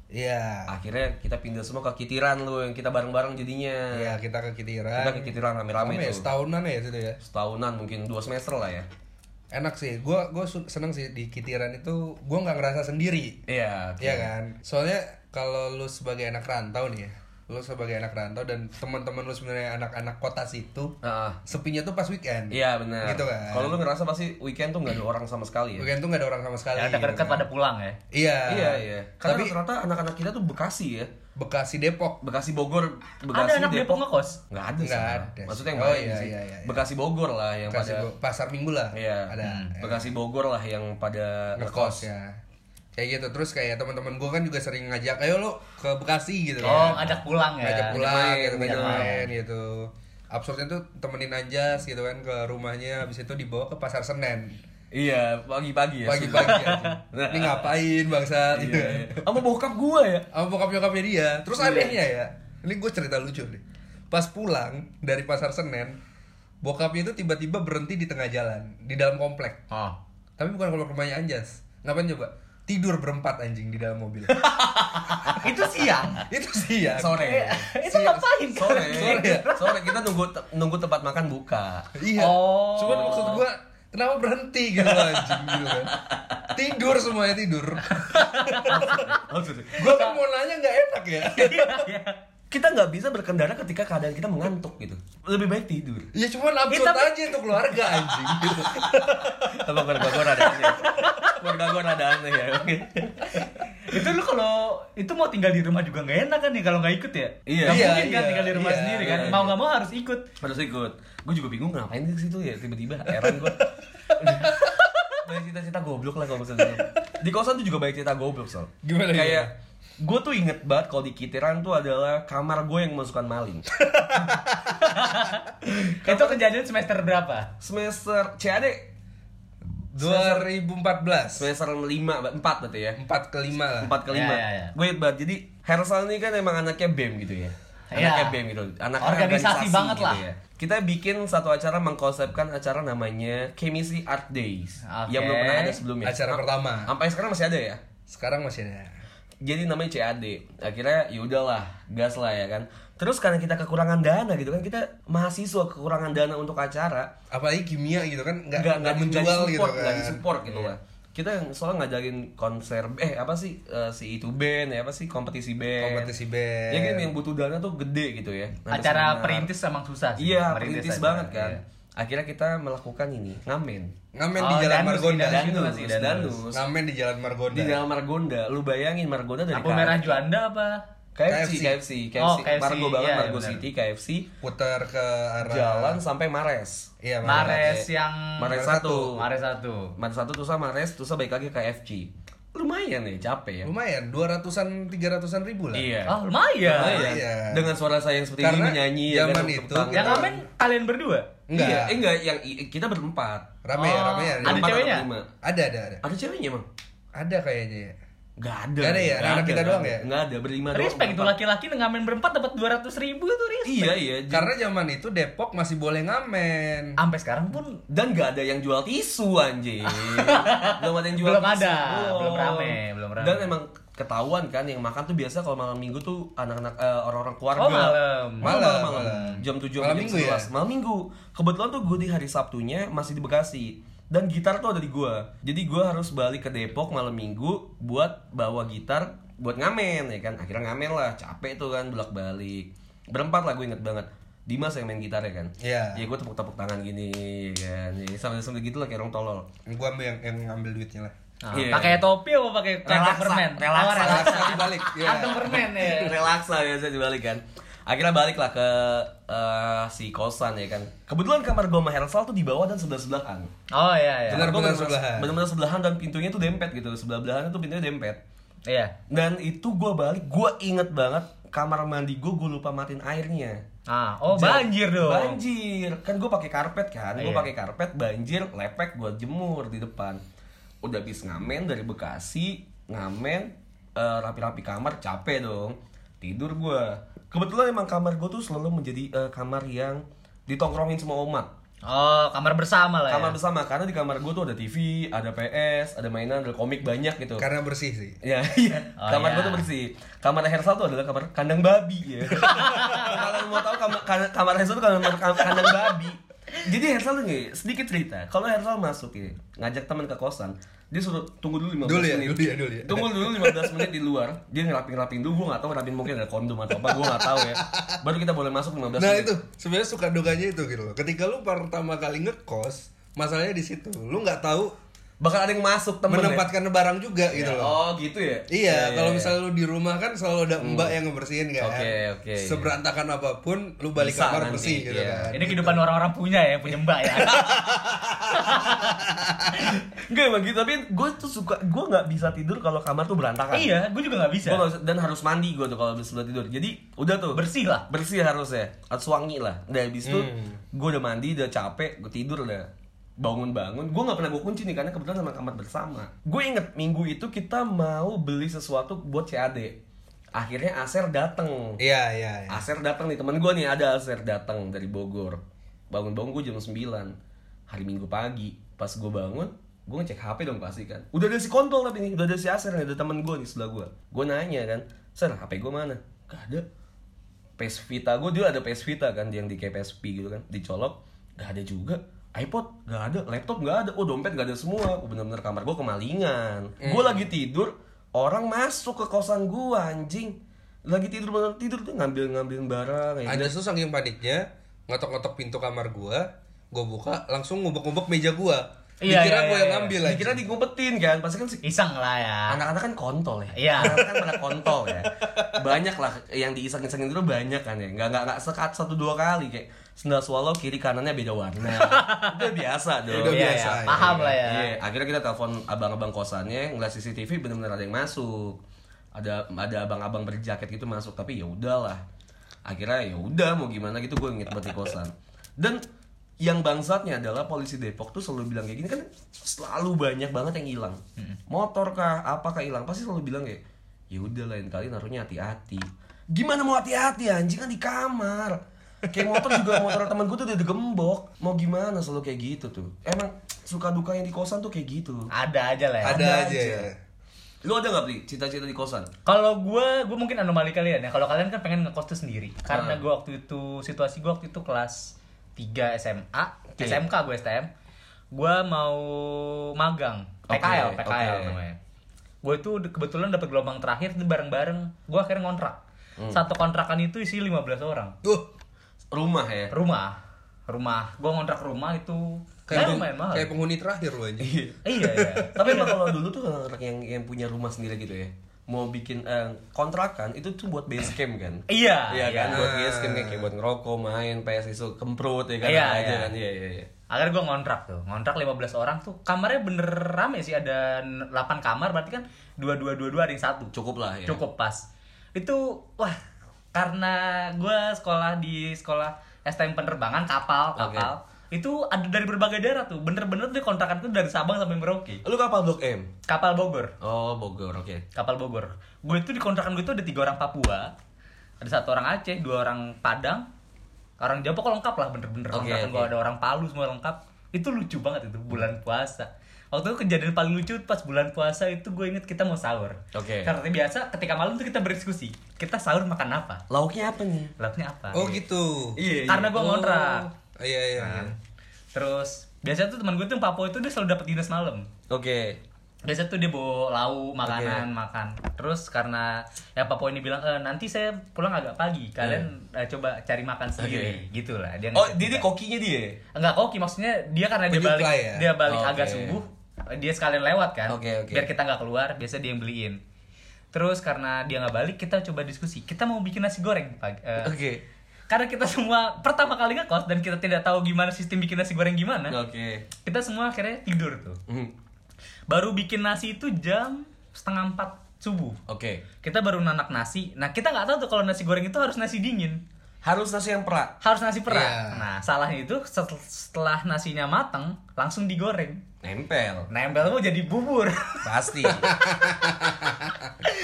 Speaker 2: iya
Speaker 3: Akhirnya kita pindah semua ke Kitiran lo yang kita bareng-bareng jadinya.
Speaker 2: Iya kita ke Kitiran.
Speaker 3: Kita ke Kitiran rame-rame
Speaker 2: Lama ya,
Speaker 3: tuh.
Speaker 2: setahunan ya itu ya.
Speaker 3: setahunan mungkin dua semester lah ya
Speaker 2: Enak sih. Gua gua su- seneng sih di Kitiran itu gua nggak ngerasa sendiri.
Speaker 3: iya
Speaker 2: Iya kan? Soalnya kalau lu sebagai anak rantau nih ya, lu sebagai anak rantau dan teman-teman lu sebenarnya anak-anak kota situ,
Speaker 3: Heeh.
Speaker 2: sepinya tuh pas weekend.
Speaker 3: iya benar
Speaker 2: Gitu kan.
Speaker 3: kalau lu ngerasa pasti weekend tuh nggak ada orang sama sekali ya
Speaker 2: weekend tuh nggak ada orang sama sekali.
Speaker 4: yang dekat-dekat
Speaker 2: gitu kan.
Speaker 4: pada pulang ya
Speaker 2: Iya.
Speaker 3: iya iya karena
Speaker 2: Tapi-
Speaker 3: ternyata anak-anak kita tuh Bekasi ya
Speaker 2: Bekasi Depok.
Speaker 3: Bekasi Bogor
Speaker 4: ada
Speaker 3: Bekasi
Speaker 4: anak Depok ngekos
Speaker 3: nggak ada
Speaker 2: Nggak
Speaker 3: Sal.
Speaker 2: ada.
Speaker 3: maksudnya yang
Speaker 2: Oh,
Speaker 3: lain
Speaker 2: iya,
Speaker 3: sih
Speaker 2: iya, iya, iya.
Speaker 3: Bekasi Bogor lah yang
Speaker 2: Bekasi
Speaker 3: pada
Speaker 2: Bo- Pasar Minggu lah.
Speaker 3: iya
Speaker 2: Ada.
Speaker 3: Hmm. Bekasi Bogor lah yang pada
Speaker 2: ngekos ya kayak gitu terus kayak teman-teman gue kan juga sering ngajak ayo lo ke Bekasi
Speaker 3: Iya.
Speaker 2: gitu
Speaker 4: oh
Speaker 2: kan
Speaker 4: ngajak pulang ya
Speaker 2: ngajak pulang
Speaker 3: main,
Speaker 2: gitu ngajak
Speaker 3: iya.
Speaker 2: main gitu absurdnya tuh temenin aja gitu kan ke rumahnya habis itu dibawa ke pasar Senen
Speaker 3: iya pagi-pagi ya
Speaker 2: pagi-pagi aja. ini ngapain bangsa gitu
Speaker 3: iya, iya. sama bokap gua ya
Speaker 2: sama bokap nyokapnya dia terus anehnya ya ini gue cerita lucu nih pas pulang dari pasar Senen bokapnya itu tiba-tiba berhenti di tengah jalan di dalam komplek
Speaker 4: oh
Speaker 2: tapi bukan kalau rumahnya Anjas ngapain coba tidur berempat anjing di dalam mobil
Speaker 4: Ah, itu siang
Speaker 2: itu ya. siang Iya.
Speaker 3: sore
Speaker 4: itu ngapain
Speaker 3: Iya.
Speaker 4: Iya,
Speaker 3: sore
Speaker 2: Sore ya?
Speaker 3: sore kita nunggu nunggu tempat makan buka
Speaker 2: iya
Speaker 4: Oh.
Speaker 2: cuman maksud gua kenapa berhenti gitu loh, anjing gitu kan tidur semuanya tidur
Speaker 3: Oh,
Speaker 2: gua kan mau nanya nggak enak ya
Speaker 4: iya.
Speaker 3: kita nggak bisa berkendara ketika keadaan kita mengantuk gitu lebih baik tidur
Speaker 2: ya cuman absurd
Speaker 4: Eh, tapi-
Speaker 2: aja tuh keluarga anjing gitu.
Speaker 3: apa keluarga gue ada aneh keluarga gue ada aneh ya
Speaker 4: itu lu kalau itu mau tinggal di rumah juga nggak enak kan nih kalau nggak ikut ya
Speaker 3: Iya.
Speaker 4: Nggak
Speaker 2: Iya,
Speaker 4: mungkin kan
Speaker 2: iya,
Speaker 4: tinggal di rumah
Speaker 2: iya,
Speaker 4: sendiri kan
Speaker 3: iya,
Speaker 4: mau
Speaker 3: iya.
Speaker 4: nggak mau harus ikut
Speaker 3: harus ikut gue juga bingung ngapain di situ ya tiba-tiba heran gue banyak cerita-cerita goblok lah kalau misalnya di kosan tuh juga banyak cerita goblok soal
Speaker 2: Gimana,
Speaker 3: kayak gue tuh inget banget kalau di Kitiran tuh adalah kamar gue yang masukkan maling
Speaker 4: itu kejadian semester berapa
Speaker 3: semester CAD
Speaker 2: 2014
Speaker 3: Semester 5, 4 berarti ya.
Speaker 2: 4 ke 5 lah
Speaker 3: 4 ke 5.
Speaker 4: Ya, ya, ya.
Speaker 3: Gue ingat banget. Jadi Hersal ini kan emang anaknya BEM gitu ya. Anaknya
Speaker 4: Ya.
Speaker 3: BEM gitu. Anak
Speaker 4: Organisasi banget lah.
Speaker 3: Kita bikin satu acara mengkonsepkan acara namanya Chemistry Art Days.
Speaker 4: Oke.
Speaker 3: Yang belum pernah ada sebelumnya.
Speaker 2: Acara
Speaker 3: Am-
Speaker 2: pertama.
Speaker 3: Sampai sekarang masih ada ya?
Speaker 2: Sekarang masih ada
Speaker 3: jadi namanya CAD akhirnya ya udahlah gas lah ya kan terus karena kita kekurangan dana gitu kan kita mahasiswa kekurangan dana untuk acara
Speaker 2: Apalagi kimia gitu kan Nggak,
Speaker 3: nggak nggak
Speaker 2: nggak menjual
Speaker 3: di
Speaker 2: gitu
Speaker 3: support,
Speaker 2: kan
Speaker 3: nggak di support gitu lah kita soalnya ngajarin konser eh apa sih eh, si itu band ya apa sih kompetisi band
Speaker 2: Kompetisi band.
Speaker 3: ya kan yang butuh dana tuh gede gitu ya Ada
Speaker 4: Acara
Speaker 3: seminar.
Speaker 4: perintis emang susah sih.
Speaker 3: iya perintis
Speaker 4: Merintis aja.
Speaker 3: banget kan
Speaker 4: Iya.
Speaker 3: akhirnya kita melakukan ini ngamen
Speaker 2: Ngamen di
Speaker 4: Oh,
Speaker 2: Jalan
Speaker 4: Danus,
Speaker 2: Margonda
Speaker 4: Danus itu masih
Speaker 3: Danus,
Speaker 4: Danus.
Speaker 3: Danus.
Speaker 2: Ngamen di Jalan Margonda
Speaker 3: di dalam Margonda lu bayangin Margonda dari
Speaker 4: Lampu
Speaker 3: KFC.
Speaker 4: merah Juanda apa?
Speaker 3: KFC, KFC,
Speaker 2: KFC.
Speaker 3: KFC,
Speaker 4: Oh, KFC,
Speaker 3: Margo banget,
Speaker 4: iya,
Speaker 3: Margo
Speaker 4: benar.
Speaker 3: City, KFC,
Speaker 2: Putar ke arah
Speaker 3: jalan sampai Mares.
Speaker 2: Iya
Speaker 4: Mares yang
Speaker 3: Mares
Speaker 2: Mares satu.
Speaker 3: 1.
Speaker 4: Mares satu.
Speaker 3: Mares 1 terus sama Mares, terus balik lagi ke KFC. Lumayan ya, capek ya.
Speaker 2: Lumayan 200-an 300-an ribu lah
Speaker 3: Iya.
Speaker 4: Oh, lumayan.
Speaker 3: Lumayan.
Speaker 2: Iya.
Speaker 3: Dengan suara saya yang seperti
Speaker 2: Karena
Speaker 3: ini menyanyi
Speaker 2: zaman
Speaker 3: untuk
Speaker 2: itu
Speaker 3: tangan.
Speaker 4: Yang
Speaker 2: kita-
Speaker 4: ngamen kalian berdua?
Speaker 2: Enggak
Speaker 3: Iya, eh, enggak, yang i- kita berempat.
Speaker 2: Rame ya,
Speaker 4: Oh,
Speaker 2: rame ya
Speaker 4: Ada
Speaker 3: Berempat
Speaker 4: ceweknya?
Speaker 3: atau berlima.
Speaker 2: Ada, ada, ada
Speaker 3: Ada ceweknya emang?
Speaker 2: Ada kayaknya ya
Speaker 3: Gak ada.
Speaker 2: Nggak ada ya?
Speaker 3: Nggak
Speaker 2: Anak kita
Speaker 3: nggak
Speaker 2: doang
Speaker 3: ada.
Speaker 2: ya?
Speaker 3: Nggak ada, berlima doang.
Speaker 4: Respect itu
Speaker 3: berempat.
Speaker 4: laki-laki ngamen berempat dapat 200 ribu itu respect.
Speaker 3: Iya, iya.
Speaker 2: Karena zaman itu Depok masih boleh
Speaker 3: Ah.
Speaker 2: ngamen
Speaker 4: Sampai sekarang pun
Speaker 3: dan gak ada yang jual tisu anjing. belum ada yang jual
Speaker 4: Belum
Speaker 3: tisu.
Speaker 4: ada, belum rame, belum rame.
Speaker 3: Dan emang ketahuan kan yang makan tuh biasa kalau malam minggu tuh anak-anak eh, orang-orang keluarga.
Speaker 4: Oh, malam.
Speaker 3: Malam, malam,
Speaker 2: Malam,
Speaker 3: malam.
Speaker 2: malam.
Speaker 3: Jam 7
Speaker 2: Malam
Speaker 3: jam
Speaker 2: minggu ya?
Speaker 3: 11. Malam minggu. Kebetulan tuh gue di hari Sabtunya masih di Bekasi. Dan gitar tuh ada di gua. Jadi gua harus balik ke Depok malam minggu buat bawa gitar buat ngamen ya kan. Akhirnya ngamen lah, capek tuh kan bolak-balik. Berempat lah gue inget banget. Dimas yang main gitar ya kan.
Speaker 2: Iya.
Speaker 3: Ya gue tepuk-tepuk tangan gini ya kan. Ya, sambil-sambil gitu lah kayak orang tolol.
Speaker 2: Gua ambil yang, yang ngambil duitnya lah
Speaker 4: Ah,
Speaker 3: Iya.
Speaker 4: pakai topi apa pakai kantong
Speaker 3: Relaksa,
Speaker 4: permen?
Speaker 3: relaksa.
Speaker 4: Oh, relaksa.
Speaker 2: Relaksa dibalik, iya.
Speaker 4: Kantong permen ya.
Speaker 3: Relaksa ya saya dibalik kan. Akhirnya balik lah ke eh, si kosan ya kan. Kebetulan kamar gue sama Hersal tuh di bawah dan sebelah sebelahan.
Speaker 4: Oh iya iya.
Speaker 2: Benar. Bener-bener sebelahan.
Speaker 3: Benar-benar sebelahan dan pintunya tuh dempet gitu. Sebelah belahan tuh pintunya dempet.
Speaker 4: Iya.
Speaker 3: Dan itu gue balik, gue inget banget kamar mandi gue gue lupa matiin airnya.
Speaker 4: Ah, oh
Speaker 3: Ja-
Speaker 4: banjir dong.
Speaker 3: Banjir. Kan gue pakai karpet kan. Gue
Speaker 4: Iya.
Speaker 3: pakai karpet banjir, lepek gue jemur di depan. Udah habis ngamen dari Bekasi, ngamen eh, rapi-rapi kamar capek dong. Tidur gue. Kebetulan emang kamar gue tuh selalu menjadi eh, kamar yang ditongkrongin semua umat.
Speaker 4: Oh, kamar
Speaker 2: Iya.
Speaker 4: bersama lah
Speaker 3: Kamar
Speaker 4: ya.
Speaker 3: bersama karena di kamar gue tuh ada TV, ada PS, ada mainan, ada komik banyak gitu.
Speaker 2: Karena bersih sih
Speaker 3: Ya, iya.
Speaker 4: Oh,
Speaker 3: kamar
Speaker 4: iya.
Speaker 3: gua tuh bersih. Kamar Hersal tuh adalah kamar kandang babi ya. Kalau mau tahu kamar kan- kamar Hersal tuh kamar kam- kandang babi. Jadi Hersal tuh nih, sedikit cerita. Kalau Hersal masuk ya, ngajak teman ke kosan, dia suruh tunggu dulu 15
Speaker 2: Dulu ya,
Speaker 3: menit.
Speaker 2: dulu ya, dulu ya.
Speaker 3: Tunggu dulu 15 menit di luar. Dia ngelapin-lapin dulu, gua enggak tahu ngelapin mungkin ada kondom atau apa, gua enggak tahu ya. Baru kita boleh masuk 15
Speaker 2: Nah
Speaker 3: menit.
Speaker 2: itu sebenarnya suka dukanya itu gitu loh. Ketika lu pertama kali ngekos, masalahnya di situ. Lu nggak tahu
Speaker 3: Bakal ada yang masuk temen ya.
Speaker 2: menempatkan barang juga gitu loh.
Speaker 3: Oh, gitu ya.
Speaker 2: Iya, kalau misalnya
Speaker 3: misalnya
Speaker 2: lu di rumah kan selalu ada mbak yang ngebersihin kan.
Speaker 3: Oke, oke.
Speaker 2: Seberantakan apapun, lu balik
Speaker 3: Bisa
Speaker 2: kamar
Speaker 3: nanti,
Speaker 2: bersih gitu
Speaker 3: iya.
Speaker 2: kan.
Speaker 4: Ini kehidupan orang-orang punya ya, punya mbak ya.
Speaker 3: Enggak emang gitu, tapi gue tuh suka, gue nggak bisa tidur kalau kamar tuh berantakan.
Speaker 4: iya, gue juga nggak bisa.
Speaker 3: Gua nggak bisa- dan harus mandi gue tuh kalau habis sebelum tidur. Jadi udah tuh
Speaker 4: Bersih Hmm. lah.
Speaker 3: bersih harusnya, harus wangi lah. Dan habis itu gue udah mandi, udah capek, gue tidur udah bangun-bangun. Gue nggak pernah gue kunci nih karena kebetulan sama kamar bersama. Gue inget minggu itu kita mau beli sesuatu buat CAD. Akhirnya Aser dateng.
Speaker 2: Iya, iya, iya.
Speaker 3: Aser datang nih temen gue nih ada Aser datang dari Bogor. Bangun-bangun gue jam 9 hari Minggu pagi. Pas gue bangun, gue ngecek HP dong pasti kan. Udah ada si kontol tapi nih, udah ada si Aser nih, ada temen gue nih sebelah gue. Gue nanya kan, Ser HP gue mana? Gak ada. PS Vita gue dia ada PS Vita kan yang di KPSP gitu kan, dicolok, gak ada juga. iPod gak ada, laptop gak ada, oh dompet gak ada semua. Oh, bener-bener kamar gue kemalingan. Gue lagi tidur, orang masuk ke kosan gue anjing. Lagi tidur bener tidur tuh ngambil ngambilin barang. ya.
Speaker 2: Ada susah yang paniknya, ngotok-ngotok pintu kamar gua, gua buka, langsung ngubek-ngubek meja gua.
Speaker 4: Iya,
Speaker 2: Dikira gua
Speaker 4: iya, iya,
Speaker 2: yang
Speaker 4: iya.
Speaker 2: ngambil lagi.
Speaker 3: Dikira diumpetin kan, pasti kan si
Speaker 4: Iseng lah ya.
Speaker 3: anak-anak kan kontol ya
Speaker 4: Iya.
Speaker 3: anak kan pada kontol ya banyak lah yang diiseng-isengin dulu banyak kan ya nggak nggak nggak sekat satu dua kali kayak sendal swallow kiri kanannya beda warna udah biasa dong
Speaker 2: Udah
Speaker 4: Iya, iya,
Speaker 2: biasa, ya.
Speaker 4: Paham lah ya.
Speaker 3: Iya, akhirnya kita telepon abang-abang kosannya ngeliat CCTV bener-bener ada yang masuk ada ada abang-abang berjaket gitu masuk tapi ya udahlah akhirnya ya udah mau gimana gitu gue inget banget di kosan dan yang bangsatnya adalah polisi Depok tuh selalu bilang kayak gini kan selalu banyak banget yang hilang motor kah apakah hilang pasti selalu bilang kayak ya udah lain kali naruhnya hati-hati gimana mau hati-hati anjing kan di kamar kayak motor juga motor temen gue tuh udah digembok mau gimana selalu kayak gitu tuh emang suka dukanya di kosan tuh kayak gitu
Speaker 4: Ada aja lah ya.
Speaker 2: Ada aja.
Speaker 3: aja. lu ada nggak beli cita-cita di kosan
Speaker 4: Kalau gue, gue mungkin anomali kalian ya. Kalau kalian kan pengen ngekos tuh sendiri.
Speaker 3: Hmm.
Speaker 4: Karena gue waktu itu situasi gue waktu itu kelas 3 SMA,
Speaker 3: Oke.
Speaker 4: SMK gue STM. Gue mau magang, PKL,
Speaker 3: Oke,
Speaker 4: PKL
Speaker 3: oke.
Speaker 4: namanya. Gue itu de- kebetulan dapat gelombang terakhir tuh bareng-bareng. Gue akhirnya ngontrak.
Speaker 3: Hmm.
Speaker 4: Satu kontrakan itu isi 15 orang.
Speaker 2: Tuh,
Speaker 3: rumah ya
Speaker 4: Rumah, rumah. Gue ngontrak rumah itu
Speaker 2: kayak,
Speaker 4: kayak
Speaker 2: peng-
Speaker 4: lumayan mahal.
Speaker 2: kayak penghuni terakhir lu aja.
Speaker 4: Iya, iya.
Speaker 3: tapi emang kalau dulu tuh anak-anak yang yang punya rumah sendiri gitu ya mau bikin eh, kontrakan itu tuh buat base camp kan
Speaker 4: Iya,
Speaker 3: Iya kan
Speaker 4: iya.
Speaker 3: buat base camp kayak buat ngerokok main PS isu kemprut ya kan
Speaker 4: Iya,
Speaker 3: aja
Speaker 4: iya.
Speaker 3: kan iya iya iya
Speaker 4: Akhirnya gue ngontrak tuh, ngontrak 15 orang tuh kamarnya bener rame sih ada 8 kamar berarti kan dua dua dua dua ada yang satu
Speaker 3: cukup lah ya
Speaker 4: cukup pas itu wah karena gue sekolah di sekolah STM penerbangan kapal kapal itu ada dari berbagai daerah tuh bener-bener deh kontrakan tuh dari Sabang sampai Merauke
Speaker 3: lu kapal blok M
Speaker 4: kapal Bogor
Speaker 3: oh Bogor oke
Speaker 4: kapal Bogor gue itu di kontrakan gue itu ada tiga orang Papua ada satu orang Aceh dua orang Padang orang Jawa kok lengkap lah bener-bener
Speaker 3: Oke,
Speaker 4: kontrakan
Speaker 3: oke.
Speaker 4: gue ada orang Palu semua lengkap itu lucu banget itu bulan puasa waktu itu kejadian paling lucu pas bulan puasa itu gue inget kita mau sahur
Speaker 3: Oke.
Speaker 4: karena biasa ketika malam tuh kita berdiskusi kita sahur makan apa
Speaker 3: lauknya apa nih
Speaker 4: lauknya apa
Speaker 2: Oh gitu.
Speaker 3: Iya, iya.
Speaker 4: karena gue
Speaker 2: Oh,
Speaker 4: ngontrak
Speaker 2: Iya iya.
Speaker 4: Oh. terus biasanya tuh teman gue tuh yang Papua itu dia selalu dapat dinas malam
Speaker 3: oke
Speaker 4: biasa tuh dia bawa lauk makanan makan terus karena ya Papua ini bilang "Eh, nanti saya pulang agak pagi kalian eh, coba cari makan sendiri gitu lah dia
Speaker 3: Iya. oh
Speaker 4: ngasih
Speaker 3: dia ini
Speaker 4: kita.
Speaker 3: kokinya dia
Speaker 4: enggak koki maksudnya dia karena dia
Speaker 2: Penyuplai
Speaker 4: balik
Speaker 2: ya?
Speaker 4: dia balik
Speaker 3: Oh,
Speaker 4: agak
Speaker 3: oke.
Speaker 4: subuh eh, dia sekalian lewat kan
Speaker 3: Oke, oke.
Speaker 4: biar kita nggak keluar biasa dia yang beliin terus karena dia nggak balik kita coba diskusi kita mau bikin nasi goreng pagi eh,
Speaker 3: oke
Speaker 4: karena kita semua pertama kali ngekos dan kita tidak tahu gimana sistem bikin nasi goreng gimana
Speaker 3: Nah. oke
Speaker 4: kita semua akhirnya tidur tuh
Speaker 3: Hmm,
Speaker 4: baru bikin nasi itu jam setengah empat subuh
Speaker 3: oke
Speaker 4: kita baru nanak nasi nah kita nggak tahu tuh kalau nasi goreng itu harus nasi dingin
Speaker 3: harus nasi yang perak
Speaker 4: harus nasi perah
Speaker 2: Iya.
Speaker 4: nah salahnya itu setel- setelah nasinya matang langsung digoreng
Speaker 3: nempel
Speaker 4: nempel mau jadi bubur
Speaker 3: pasti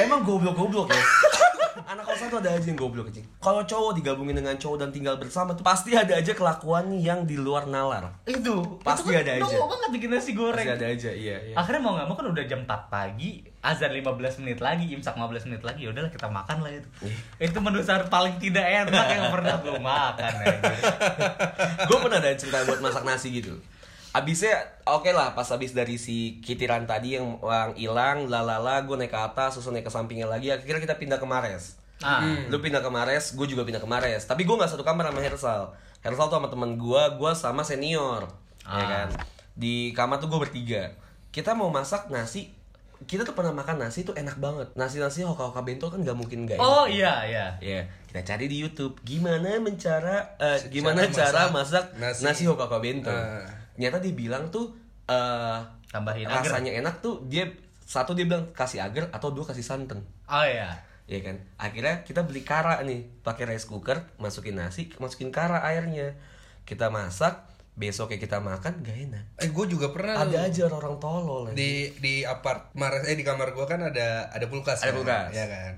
Speaker 3: emang goblok-goblok ya anak kosan tuh ada aja yang goblok anjing kalau cowok digabungin dengan cowok dan tinggal bersama tuh pasti ada aja kelakuan yang di luar nalar
Speaker 4: itu
Speaker 3: Pasti
Speaker 4: itu kan
Speaker 3: ada aja.
Speaker 4: nongol banget bikin nasi goreng
Speaker 3: pasti ada aja iya iya
Speaker 4: akhirnya mau nggak mau kan udah jam 4 pagi azan 15 menit lagi imsak 15 menit lagi ya udahlah kita makan lah itu itu menu sahur paling tidak enak yang pernah gue makan anjir.
Speaker 3: gue pernah ada cerita buat masak nasi gitu Abisnya oke lah pas abis dari si kitiran tadi yang yang hilang lalala gue naik ke atas susun naik ke sampingnya lagi akhirnya kita pindah ke Mares
Speaker 4: ah
Speaker 3: lu pindah ke Mares gue juga pindah ke Mares tapi gue nggak satu kamar sama Hersal Hersal tuh sama temen gue gue sama senior ya
Speaker 4: Ah.
Speaker 3: kan di kamar tuh gue bertiga kita mau masak nasi kita tuh pernah makan nasi tuh enak banget nasi nasi hoka hoka bento kan gak mungkin gak enak
Speaker 4: oh
Speaker 3: ya.
Speaker 4: iya
Speaker 3: Ya,
Speaker 4: iya
Speaker 3: kita cari di YouTube gimana mencara eh, gimana
Speaker 2: masak
Speaker 3: cara masak
Speaker 2: nasi.
Speaker 3: nasi, hokka bento.
Speaker 2: Eh.
Speaker 3: Ternyata dia bilang tuh eh
Speaker 4: Tambahin agar.
Speaker 3: rasanya enak tuh dia satu dia bilang kasih agar atau dua kasih santan.
Speaker 4: oh iya
Speaker 3: Iya kan? Akhirnya kita beli kara nih, pakai rice cooker, masukin nasi, masukin kara airnya. Kita masak, besoknya kita makan gak enak.
Speaker 2: Eh gue juga pernah tuh.
Speaker 3: Ada aja orang tolol. ya.
Speaker 2: di di apart Mares- eh di kamar gua kan ada ada kulkas
Speaker 3: Ada
Speaker 2: kan?
Speaker 3: kulkas.
Speaker 2: ya kan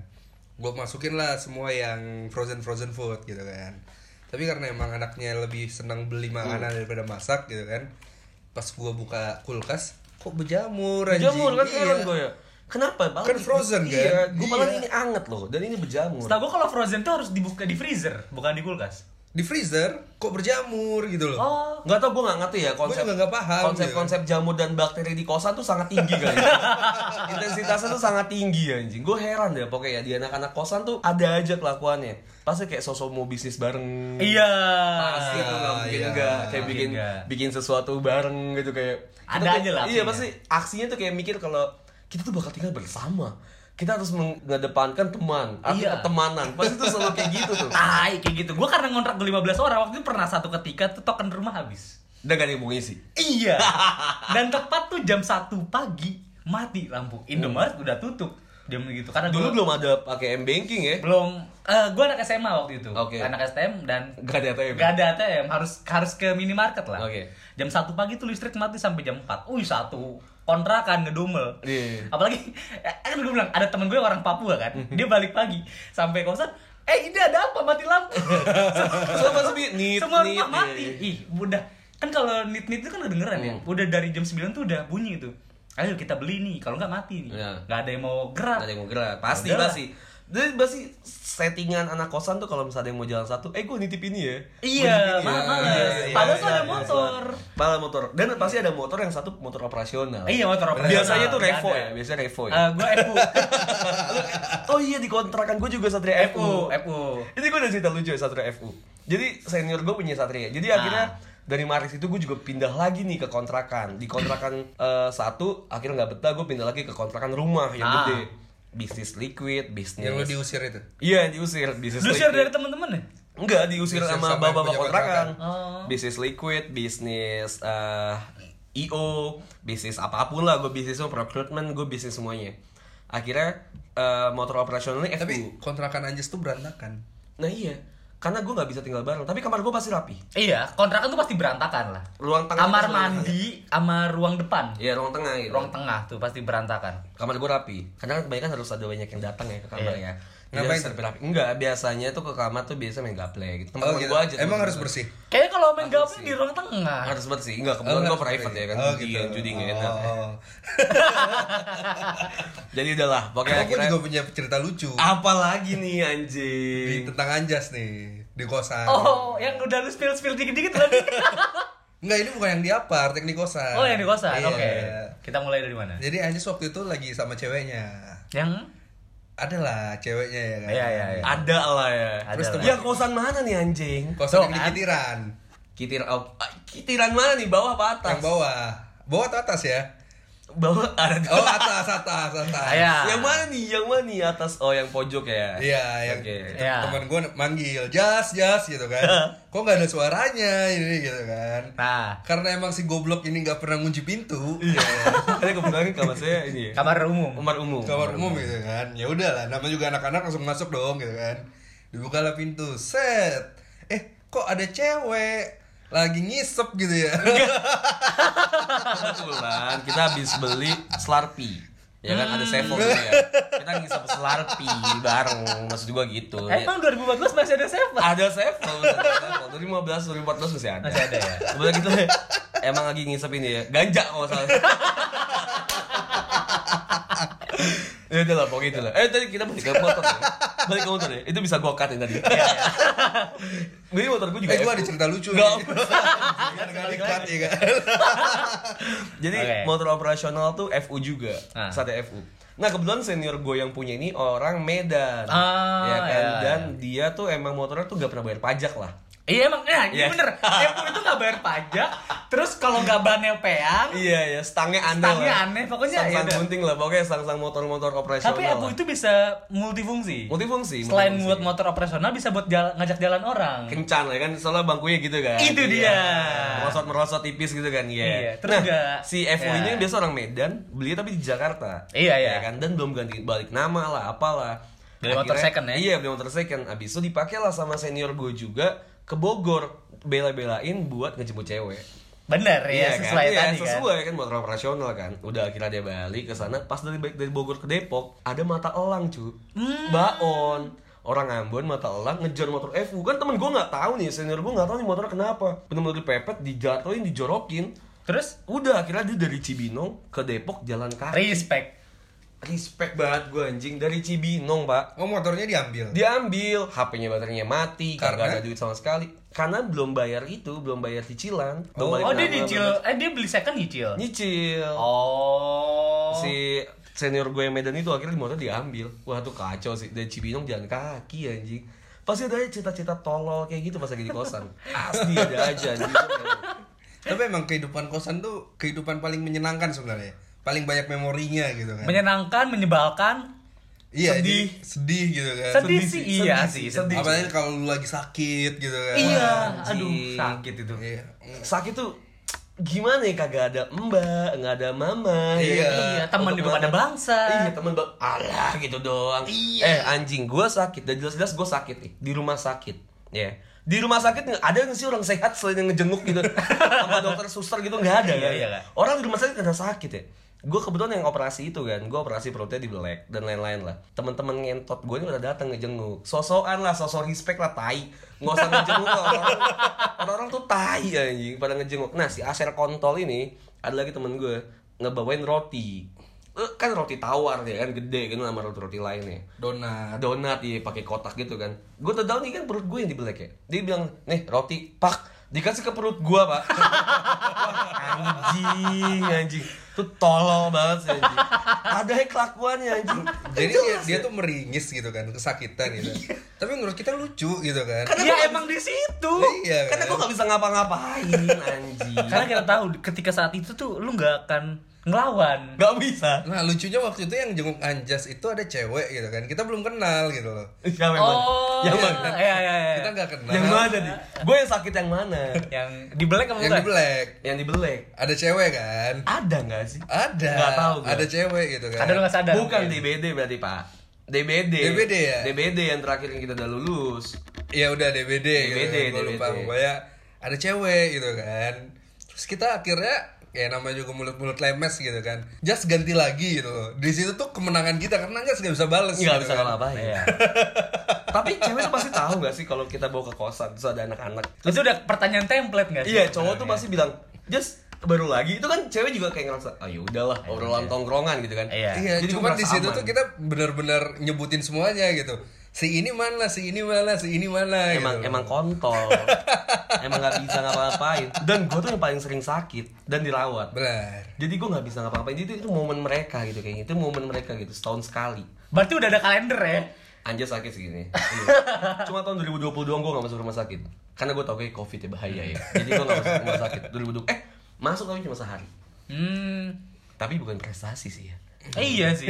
Speaker 2: gue masukin lah semua yang frozen frozen food gitu kan tapi karena emang anaknya lebih senang beli
Speaker 3: Hmm.
Speaker 2: makanan daripada masak gitu kan pas gua buka kulkas kok berjamur anjing?
Speaker 3: Berjamur kan
Speaker 2: Iya.
Speaker 3: heran gue ya. Kenapa? Malah
Speaker 2: Kan
Speaker 3: di-
Speaker 2: frozen, kan?
Speaker 3: Iya, gue malah
Speaker 2: Iya.
Speaker 3: ini anget loh dan ini berjamur.
Speaker 4: Setahu gue kalau frozen tuh harus dibuka di freezer, bukan di kulkas.
Speaker 2: di freezer kok berjamur gitu loh
Speaker 4: Oh,
Speaker 3: Nggak tau gue nggak ngerti ya konsep
Speaker 2: juga nggak paham, gitu ya.
Speaker 3: konsep-konsep jamur dan bakteri di kosan tuh sangat tinggi kali. ya. Intensitasnya tuh sangat tinggi anjing. Gue heran deh pokoknya ya di anak-anak kosan tuh ada aja kelakuannya. Pasti kayak sosok mau bisnis bareng.
Speaker 4: iya.
Speaker 3: Hmm. Pasti tuh nggak mungkin
Speaker 2: Iya.
Speaker 3: nggak. kayak
Speaker 4: Mungkin
Speaker 3: bikin
Speaker 4: nggak.
Speaker 3: bikin sesuatu bareng gitu kayak.
Speaker 4: Ada
Speaker 3: Kita tuh-
Speaker 4: aja lah
Speaker 3: Iya
Speaker 4: aksinya.
Speaker 3: pasti aksinya tuh kayak mikir kalau kita tuh bakal tinggal bersama. Kita harus mengedepankan teman, arti
Speaker 4: Iya.
Speaker 3: pertemanan. Pasti tuh selalu kayak gitu tuh.
Speaker 4: Tai kayak gitu. Gue karena ngontrak gue 15 orang waktu itu pernah satu ketika tuh token rumah habis.
Speaker 3: Dan gak ada yang mau ngisi.
Speaker 4: Iya. Dan tepat tuh jam 1 pagi mati lampu. Indomaret udah tutup. Dia begitu karena
Speaker 3: Dulu
Speaker 4: gua-
Speaker 3: belum ada pakai M banking ya.
Speaker 4: belum eh gue anak SMA waktu itu
Speaker 3: Oke.
Speaker 4: anak STM dan
Speaker 3: Gak ada ATM.
Speaker 4: gak ada ATM harus harus ke minimarket
Speaker 3: ya?
Speaker 4: lah
Speaker 3: Oke.
Speaker 4: jam satu pagi tuh listrik mati sampai jam 4 Wih satu kontrakan
Speaker 3: Iya,
Speaker 4: ngedumel
Speaker 3: Mhm. iya.
Speaker 4: apalagi eh, kan gue bilang ada temen gue orang Papua kan dia balik pagi sampai kosan eh ini ada apa mati lampu
Speaker 3: Semua sepi, nit,
Speaker 4: semua
Speaker 3: nit, iya,
Speaker 4: rumah
Speaker 3: Mhm.
Speaker 4: mati ih udah kan kalau nit nit itu kan kedengeran ya udah dari jam 9 tuh udah bunyi itu ayo kita beli nih kalau nggak mati nih
Speaker 3: Iya.
Speaker 4: nggak ada yang mau gerak
Speaker 3: Ada yang mau gerak. Pasti,
Speaker 4: Udah lah.
Speaker 3: pasti. Jadi pasti settingan anak kosan tuh kalau misalnya ada yang mau jalan satu, eh gue nitip ini ya.
Speaker 4: Iya,
Speaker 3: Gua nitip ini ya.
Speaker 4: ma- males.
Speaker 3: Iya, iya,
Speaker 4: Padahal
Speaker 3: iya,
Speaker 4: tuh ada
Speaker 3: iya,
Speaker 4: motor.
Speaker 3: iya. Padahal motor. Dan pasti ada motor yang satu motor operasional.
Speaker 4: Iya, motor operasional.
Speaker 3: Biasanya tuh
Speaker 4: Nggak
Speaker 3: Revo
Speaker 4: ada.
Speaker 3: ya, biasanya Revo ya.
Speaker 4: Eh, gua FU.
Speaker 3: oh iya di kontrakan gue juga Satria FU.
Speaker 4: FU, FU.
Speaker 3: Ini gue ada cerita lucu ya Satria FU. Jadi senior gue punya Satria. Jadi
Speaker 4: Ah.
Speaker 3: akhirnya dari Maris itu gue juga pindah lagi nih ke kontrakan. Di kontrakan eh, satu akhirnya nggak betah gue pindah lagi ke kontrakan rumah yang
Speaker 4: Ah.
Speaker 3: gede. Bisnis liquid, bisnis.
Speaker 2: Yang lu diusir itu.
Speaker 3: Iya diusir bisnis.
Speaker 4: Lu share dari
Speaker 3: liquid.
Speaker 4: teman-teman ya?
Speaker 3: Enggak diusir
Speaker 2: Diusir
Speaker 3: sama
Speaker 2: sama
Speaker 3: bapak-bapak
Speaker 2: yang punya
Speaker 3: kontrakan.
Speaker 4: kontrakan. Oh.
Speaker 3: Bisnis liquid, bisnis eh, IO, bisnis apapun lah. Gue bisnis semua, recruitment, gue bisnis semuanya. Akhirnya eh, motor operasionalnya FU.
Speaker 2: Tapi kontrakan Anjes tuh berantakan.
Speaker 3: Nah iya, karena gue nggak bisa tinggal bareng. Tapi kamar gue pasti rapi.
Speaker 4: Iya, kontrakan tuh pasti berantakan lah.
Speaker 3: Ruang tengah
Speaker 4: kamar
Speaker 3: itu selalu
Speaker 4: mandi, sama ruang depan,
Speaker 3: Iya ruang tengah gitu.
Speaker 4: ruang tengah tuh pasti berantakan.
Speaker 3: kamar gue rapi. Karena kan kebanyakan harus ada banyak yang datang ya ke kamar ya.
Speaker 4: Iya.
Speaker 3: Jadi
Speaker 2: Ngapain
Speaker 3: harus rapi, rapi. Enggak, biasanya tuh ke kamar tuh biasa main gaple gitu. Tempat
Speaker 2: Oh,
Speaker 3: temen
Speaker 2: gitu.
Speaker 3: gua aja.
Speaker 2: Emang
Speaker 3: temen
Speaker 2: harus
Speaker 3: gua.
Speaker 2: bersih.
Speaker 4: Kayaknya kalau main gaple di ruang tengah.
Speaker 3: Harus bersih. Enggak, kebetulan
Speaker 2: Oh,
Speaker 3: gue
Speaker 2: nggak
Speaker 3: private
Speaker 2: bersih.
Speaker 3: ya kan.
Speaker 2: Oh,
Speaker 3: judi,
Speaker 2: gitu.
Speaker 3: judi nggak
Speaker 2: Oh,
Speaker 3: enak. ya.
Speaker 2: oh.
Speaker 3: Jadi udahlah, pokoknya
Speaker 2: Emang gua
Speaker 3: akhirnya
Speaker 2: juga punya cerita lucu.
Speaker 3: apalagi nih
Speaker 2: Di,
Speaker 3: anjing.
Speaker 2: tentang Anjas nih di kosan.
Speaker 4: Oh, yang udah lu spill spill dikit-dikit tadi.
Speaker 2: Enggak, ini bukan yang di apart, yang di kosan.
Speaker 4: oh, yang di kosan.
Speaker 2: Iya.
Speaker 4: Oke. Kita mulai dari mana?
Speaker 3: Iya.
Speaker 2: Jadi Anjas waktu itu lagi sama ceweknya.
Speaker 4: Yang
Speaker 2: Adalah ceweknya ya kan.
Speaker 4: Iya, iya, iya.
Speaker 3: Ada lah ya.
Speaker 4: Ada
Speaker 3: Terus
Speaker 4: lah.
Speaker 3: yang kosan mana nih anjing?
Speaker 2: Kosan
Speaker 4: Tuh,
Speaker 2: yang di
Speaker 4: kan.
Speaker 2: Kitiran.
Speaker 3: Kitir oh, kitiran mana nih? Bawah apa atas?
Speaker 2: Yang bawah. Bawah atau atas ya?
Speaker 3: Bawah ada
Speaker 2: Oh, atas, atas, atas.
Speaker 4: Iya.
Speaker 3: Yang mana nih? Yang mana nih atas? Oh, yang pojok ya.
Speaker 2: Iya, yang
Speaker 3: Oke.
Speaker 4: Iya.
Speaker 2: teman gue manggil jas jas gitu kan. Kok nggak ada suaranya ini gitu kan.
Speaker 4: nah,
Speaker 2: Karena emang si goblok ini nggak pernah ngunci pintu.
Speaker 3: Iya. Karena kebetulan kamar saya ini ya.
Speaker 4: kamar umum.
Speaker 3: Kamar umum.
Speaker 2: Kamar umum gitu kan. Ya udahlah, namanya juga anak-anak langsung masuk dong gitu kan. Dibukalah pintu, set. Eh, kok ada cewek lagi ngisep gitu ya.
Speaker 3: Kebetulan kita habis beli Slurpee. Ya kan ada Sevo gitu ya.
Speaker 2: Hmm.
Speaker 3: Kita ngisep Slurpee bareng. Maksud gua gitu. Ya.
Speaker 4: Eh, Emang 2014 masih ada siapa?
Speaker 3: Ada Sevo. ada Sevo. 2015, 2014 masih ada.
Speaker 4: Masih ada ya?
Speaker 3: Kebetulan kita emang lagi ngisep ini ya. Ganja kalau nggak salah. ya udah lah pokoknya itu lah. Eh tadi kita balik ke motor ya. Balik ke motor ya. Itu bisa gua cut ya tadi.
Speaker 4: Iya,
Speaker 3: Jadi motor gua juga.
Speaker 2: Eh, gue ada
Speaker 3: Evo.
Speaker 2: cerita lucu
Speaker 3: Nggak.
Speaker 2: nih. Nggak dikat ya kan.
Speaker 3: Jadi
Speaker 4: Oke.
Speaker 3: motor operasional tuh FU juga,
Speaker 4: Ah.
Speaker 3: sate FU. Nah kebetulan senior gue yang punya ini orang Medan,
Speaker 4: Ah,
Speaker 3: ya kan?
Speaker 4: iya,
Speaker 3: Dan dia tuh emang motornya tuh gak pernah bayar pajak lah.
Speaker 4: Iya emang, eh ini
Speaker 3: Iya.
Speaker 4: bener. Epo itu nggak bayar pajak, terus kalau nggak bannya peang,
Speaker 3: Iya ya, stangnya aneh
Speaker 4: Stangnya
Speaker 3: lah.
Speaker 4: aneh, pokoknya
Speaker 3: Stang-stang
Speaker 4: ya udah.
Speaker 3: gunting lah, pokoknya stang-stang motor-motor operasional.
Speaker 4: tapi Epo
Speaker 3: lah.
Speaker 4: itu bisa multifungsi.
Speaker 3: Multifungsi,
Speaker 4: Selain
Speaker 3: multifungsi.
Speaker 4: buat motor operasional, bisa buat jala- ngajak jalan orang.
Speaker 3: kencan lah kan, soalnya bangkunya gitu kan.
Speaker 4: Itu
Speaker 3: Iya.
Speaker 4: dia.
Speaker 3: Merosot-merosot tipis gitu kan, iya.
Speaker 4: Iya,
Speaker 3: nah,
Speaker 4: terus nggak-
Speaker 3: si FU ini
Speaker 4: ya.
Speaker 3: yang biasa orang Medan, belinya tapi di Jakarta.
Speaker 4: Iya, iya.
Speaker 3: Ya kan, dan belum ganti balik nama lah, apalah.
Speaker 4: Beli motor
Speaker 3: Akhirnya-
Speaker 4: second ya?
Speaker 3: Iya, beli motor second. Abis itu dipakai lah sama senior gue juga ke Bogor bela-belain buat ngejemput cewek.
Speaker 4: Bener ya, sesuai
Speaker 3: iya,
Speaker 4: tadi kan.
Speaker 3: sesuai kan motor operasional kan. Udah akhirnya dia balik ke sana. Pas dari balik dari Bogor ke Depok, ada mata elang cu,
Speaker 4: Hmm.
Speaker 3: baon. Orang Ambon mata elang ngejar motor FU kan temen gue nggak tahu nih senior gue nggak tahu nih motornya kenapa bener-bener dipepet dijatuhin dijorokin
Speaker 4: Terus,
Speaker 3: udah akhirnya dia dari Cibinong ke Depok jalan kaki
Speaker 4: respect.
Speaker 3: respect banget gue anjing dari Cibinong pak
Speaker 2: Oh, motornya diambil.
Speaker 3: diambil HP-nya baterainya mati
Speaker 2: Karena?
Speaker 3: karena ada duit sama sekali karena belum bayar itu belum bayar cicilan belum balik
Speaker 4: Oh dia
Speaker 3: nama,
Speaker 4: nyicil,
Speaker 3: belum-
Speaker 4: eh dia beli second nyicil.
Speaker 3: nyicil
Speaker 4: Oh.
Speaker 3: si senior gue yang Medan itu akhirnya di motor diambil wah tuh kacau sih dari Cibinong jalan kaki anjing pasti ada aja cita-cita tolol kayak gitu pas lagi di kosan asli ada aja anjing
Speaker 2: Tapi emang kehidupan kosan tuh kehidupan paling menyenangkan sebenarnya. Paling banyak memorinya gitu kan.
Speaker 4: Menyenangkan, menyebalkan.
Speaker 2: iya,
Speaker 4: sedih.
Speaker 2: jadi sedih gitu kan.
Speaker 4: Sedih,
Speaker 3: Sedih sih,
Speaker 4: sih, iya
Speaker 3: sedih
Speaker 4: sih,
Speaker 3: sih,
Speaker 4: sedih.
Speaker 2: Apalagi kalau lu lagi sakit gitu kan.
Speaker 4: Iya,
Speaker 3: Wah,
Speaker 4: aduh
Speaker 3: anjing.
Speaker 4: sakit itu.
Speaker 2: Iya.
Speaker 3: sakit tuh gimana ya kagak ada mbak nggak ada mama ya kan?
Speaker 2: Iya.
Speaker 4: Iya, teman
Speaker 3: Untuk
Speaker 4: juga pada
Speaker 3: makan.
Speaker 4: bangsa.
Speaker 3: iya teman bang alah gitu doang
Speaker 2: Iya.
Speaker 3: eh anjing gue sakit dan jelas-jelas gue sakit nih di rumah sakit ya di rumah sakit nggak- ada nggak sih orang sehat selain yang ngejenguk gitu sama dokter suster gitu nggak ada
Speaker 4: Iya,
Speaker 3: kan?
Speaker 4: iya, kan?
Speaker 3: orang di rumah sakit ada sakit ya gue kebetulan yang operasi itu kan gue operasi perutnya di belek dan lain-lain lah teman-teman ngentot gue ini udah datang ngejenguk sosokan lah sosok respect lah tai nggak usah ngejenguk lah orang-orang orang-orang tuh tai anjing pada ngejenguk nah si aser kontol ini ada lagi temen gue ngebawain roti Eh, kan roti tawar ya kan gede kan sama roti-roti lainnya
Speaker 2: donat
Speaker 3: donat ya pakai kotak gitu kan gue tuh tahu nih kan perut gue yang dibelek ya dia bilang nih roti pak dikasih ke perut gue pak anjing anjing tuh tolol banget sih anjing ada ya kelakuannya anjing
Speaker 2: jadi dia, dia tuh meringis gitu kan kesakitan gitu tapi menurut kita lucu gitu kan
Speaker 3: Karena
Speaker 4: Ya,
Speaker 3: gua-
Speaker 4: emang di situ.
Speaker 2: Iya, kan?
Speaker 3: karena gue gak bisa ngapa-ngapain anjing
Speaker 4: Karena kita tahu ketika saat itu tuh lu nggak akan ngelawan.
Speaker 3: gak bisa
Speaker 2: Nah lucunya waktu itu yang jenguk Anjas itu ada cewek gitu kan Kita belum kenal gitu loh
Speaker 3: Siapa yang mana?
Speaker 4: Oh,
Speaker 3: yang
Speaker 4: iya,
Speaker 3: mana?
Speaker 4: iya, iya, iya.
Speaker 2: Kita nggak kenal
Speaker 3: Yang mana nih? Gue yang sakit yang mana?
Speaker 4: Yang dibelek apa
Speaker 2: Yang di
Speaker 4: bukan?
Speaker 2: black
Speaker 3: yang dibelek.
Speaker 2: Ada cewek kan
Speaker 3: Ada nggak sih?
Speaker 2: Ada
Speaker 3: Nggak tahu gua.
Speaker 2: Ada cewek gitu kan
Speaker 4: Ada lu nggak sadar?
Speaker 3: Bukan
Speaker 4: Mungkin.
Speaker 3: DBD berarti pak. DBD.
Speaker 2: DBD ya?
Speaker 3: DBD yang terakhir yang kita udah lulus.
Speaker 2: Ya udah DBD,
Speaker 3: DBD,
Speaker 2: gitu kan. Gua lupa
Speaker 3: DBD.
Speaker 2: Pokoknya ada cewek gitu kan Terus kita akhirnya Ya namanya juga mulut-mulut lemes gitu kan Just ganti lagi gitu loh Di situ tuh kemenangan kita Karena Anjas nggak bisa bales
Speaker 3: Nggak
Speaker 2: gitu
Speaker 3: bisa
Speaker 2: kan.
Speaker 3: ngapain. Tapi cewek tuh pasti tahu nggak sih kalau kita bawa ke kosan terus ada anak-anak.
Speaker 4: Itu udah pertanyaan template nggak sih?
Speaker 3: Iya cowok tuh pasti bilang just baru lagi itu kan cewek juga kayak ngerasa ayo udahlah obrolan tongkrongan gitu kan
Speaker 2: Iya,
Speaker 4: Iya.
Speaker 3: Iya. Jadi
Speaker 2: cuman
Speaker 3: gua merasa
Speaker 2: di situ
Speaker 3: aman.
Speaker 2: tuh kita benar-benar nyebutin semuanya gitu. Si ini mana, si ini mana, si ini mana
Speaker 3: emang
Speaker 2: gitu.
Speaker 3: emang kontol emang nggak bisa ngapa-ngapain dan gue tuh yang paling sering sakit dan dirawat
Speaker 2: benar.
Speaker 3: jadi gue nggak bisa ngapa-ngapain jadi itu, itu momen mereka gitu kayaknya itu momen mereka gitu setahun sekali
Speaker 4: Berarti udah ada kalender ya?
Speaker 3: anjir sakit segini Iya. cuma tahun 2020 doang gue nggak masuk rumah sakit karena gue tau kayak covid ya bahaya ya jadi gue nggak masuk rumah sakit 2020 eh masuk tapi cuma sehari
Speaker 4: Hmm,
Speaker 3: tapi bukan prestasi sih ya
Speaker 4: iya sih.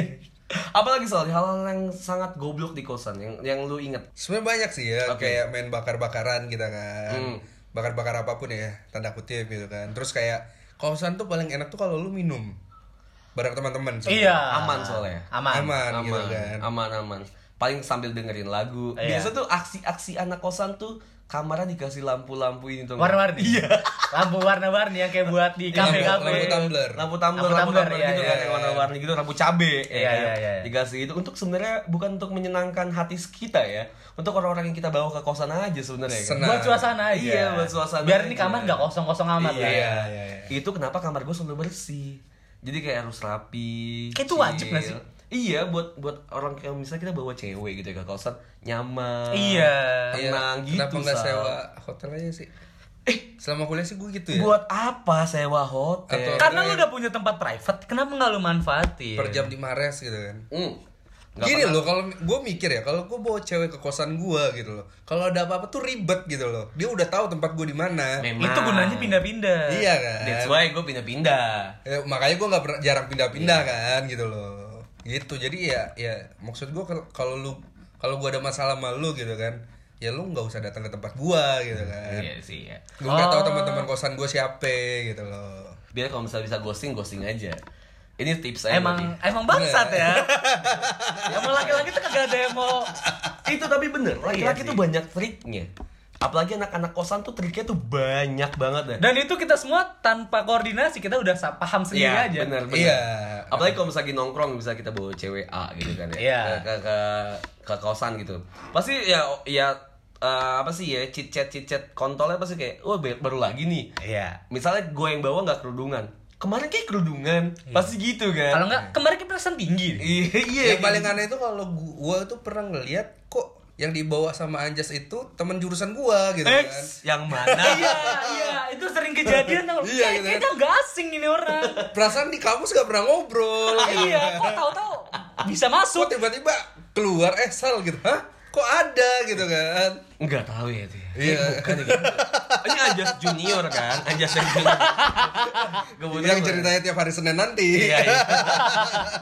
Speaker 3: apalagi soal hal-hal yang sangat goblok di kosan yang yang lu inget
Speaker 2: Sebenarnya banyak sih ya
Speaker 3: Oke.
Speaker 2: kayak main bakar-bakaran kita kan.
Speaker 3: Hmm.
Speaker 2: Bakar-bakar apapun ya, tanda kutip gitu kan. Terus kayak kosan tuh paling enak tuh kalau lu minum bareng teman-teman. sebenarnya.
Speaker 4: Iya.
Speaker 3: Aman soalnya.
Speaker 4: Aman.
Speaker 2: Aman, gitu
Speaker 3: aman
Speaker 2: kan.
Speaker 3: aman aman paling sambil dengerin lagu
Speaker 4: Iya.
Speaker 3: biasa tuh aksi-aksi anak kosan tuh kamarnya dikasih lampu-lampu ini tuh
Speaker 4: Warna-warni. Iya. Lampu warna-warni yang kayak buat di kafe-kafe.
Speaker 2: lampu tumbler.
Speaker 3: Iya, lampu tumbler lampu
Speaker 4: Lampu tumbler,
Speaker 3: tumbler
Speaker 4: iya,
Speaker 3: gitu
Speaker 4: iya,
Speaker 3: kan yang warna-warni gitu lampu cabe
Speaker 4: Iya, iya, iya, iya.
Speaker 3: dikasih itu gitu. untuk sebenarnya bukan untuk menyenangkan hati kita ya untuk orang-orang yang kita bawa ke kosan aja sebenarnya kan?
Speaker 2: Senang.
Speaker 4: Buat suasana aja.
Speaker 3: Iya, buat suasana
Speaker 4: Biar ini
Speaker 3: aja.
Speaker 4: kamar nggak kosong-kosong amat
Speaker 3: Iya,
Speaker 4: lah. ya.
Speaker 2: Iya, iya, iya.
Speaker 3: itu kenapa kamar gue selalu bersih jadi kayak harus rapi
Speaker 4: Kayak itu wajib nggak
Speaker 3: chill.
Speaker 4: sih?
Speaker 3: iya buat buat orang yang misalnya kita bawa cewek gitu ya ke kosan nyaman
Speaker 4: Iya.
Speaker 3: tenang gitu
Speaker 2: Kenapa nggak
Speaker 3: Sal.
Speaker 2: sewa hotel aja sih? Eh, selama kuliah sih gue gitu ya.
Speaker 3: buat apa sewa hotel
Speaker 2: Atau-
Speaker 4: Karena lu udah punya tempat private, kenapa nggak lu manfaatin?
Speaker 2: Per jam di Mares gitu kan.
Speaker 3: Hmm. Nggak
Speaker 2: Gini loh, kalau gue mikir ya, kalau gue bawa cewek ke kosan gue gitu loh, kalau ada apa-apa tuh ribet gitu loh. Dia udah tahu tempat gue di mana.
Speaker 3: Memang.
Speaker 4: Itu gunanya pindah-pindah.
Speaker 2: Iya kan.
Speaker 3: That's why gue pindah-pindah.
Speaker 2: Ya, makanya gue nggak pernah- jarang pindah-pindah
Speaker 3: Iya.
Speaker 2: kan gitu loh. Gitu. Jadi ya, ya maksud gue kalau- kalau lu kalau gue ada masalah sama lu gitu kan, ya lu nggak usah datang ke tempat gue gitu kan.
Speaker 3: Iya sih ya.
Speaker 2: Gue nggak tahu
Speaker 4: Oh,
Speaker 2: teman-teman kosan gue siapa gitu loh.
Speaker 3: Biar kalau misalnya bisa ghosting, ghosting aja. Ini tips aja.
Speaker 4: Emang emang bangsat ya. emang laki-laki tuh kagak ada yang mau
Speaker 3: itu tapi bener. Laki-laki
Speaker 4: Iya sih.
Speaker 3: tuh banyak triknya. ya, Apalagi anak-anak kosan tuh triknya tuh banyak banget ya.
Speaker 4: dan itu kita semua tanpa koordinasi kita udah sa- paham sendiri
Speaker 3: Iya,
Speaker 4: aja.
Speaker 3: bener, bener.
Speaker 2: Iya.
Speaker 3: Apalagi kalau misalnya lagi nongkrong, bisa kita bawa cewek A gitu kan ya.
Speaker 4: Iya.
Speaker 3: Ke, ke, ke- ke kosan gitu. Pasti ya ya eh, apa sih ya chit chat chit chat kontolnya pasti kayak wah ba- baru lagi nih
Speaker 4: Iya.
Speaker 3: misalnya gue yang bawa nggak kerudungan kemarin kayak kerudungan pasti gitu kan
Speaker 4: Kalau nggak kemarin kita perasaan tinggi. deh.
Speaker 3: iya iya
Speaker 2: yang paling aneh itu kalau gua tuh pernah ngeliat kok yang dibawa sama Anjas itu teman jurusan gua gitu kan.
Speaker 3: Eits, yang mana
Speaker 4: Iya, iya, itu sering kejadian tau.
Speaker 2: Iya,
Speaker 4: Kayak-
Speaker 2: gitu.
Speaker 4: Kayaknya nggak asing ini orang.
Speaker 2: Perasaan di kampus gak pernah ngobrol
Speaker 3: Oh, Ah,
Speaker 2: gitu.
Speaker 4: iya, kok tahu-tahu bisa
Speaker 2: Kok
Speaker 4: masuk.
Speaker 2: tiba-tiba keluar eh sal gitu. Hah? Kok ada gitu kan.
Speaker 3: nggak tahu ya itu ya.
Speaker 2: Iya.
Speaker 3: bukan ya ini Anjas junior kan Anjas yang junior Kebetulan
Speaker 2: Yang
Speaker 3: bukan-
Speaker 2: ceritanya tiap hari Senin nanti.
Speaker 3: iya, iya.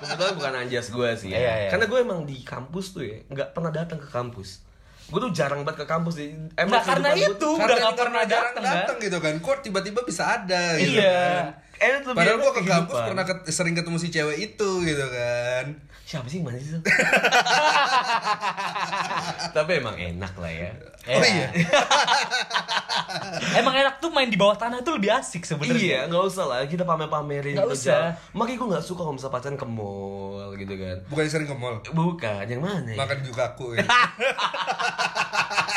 Speaker 3: kebetulan bukan Anjas gue sih ya.
Speaker 4: Iya, iya.
Speaker 3: karena gue emang di kampus tuh ya nggak pernah datang ke kampus gue tuh jarang banget ke kampus sih.
Speaker 4: Nah,
Speaker 3: kehidupan
Speaker 4: karena
Speaker 3: gua
Speaker 4: itu
Speaker 3: tuh-
Speaker 4: udah
Speaker 2: Karena
Speaker 4: gak
Speaker 2: kita
Speaker 4: pernah
Speaker 2: jarang
Speaker 4: dateng kan.
Speaker 2: dateng gitu kan. Kok tiba-tiba bisa ada gitu
Speaker 3: iya
Speaker 2: kan.
Speaker 3: Eh, lebih
Speaker 2: Padahal
Speaker 3: enak
Speaker 2: gua ke kampus
Speaker 3: kehidupan.
Speaker 2: pernah ket- sering ketemu si cewek itu gitu kan.
Speaker 3: siapa sih mana sih tapi emang enak lah ya
Speaker 2: Oh iya.
Speaker 4: Emang enak tuh main di bawah tanah tuh lebih asik
Speaker 3: Iya,
Speaker 4: sebenarnya.
Speaker 3: nggak usah lah kita pamer-pamerin
Speaker 4: Nggak
Speaker 3: gitu,
Speaker 4: usah.
Speaker 3: jalan. Makanya gue nggak suka kalau misalnya pacaran ke mall gitu kan.
Speaker 2: Bukan sering ke mall.
Speaker 3: Bukan, yang mana? ya?
Speaker 2: Makan juga aku. Ya.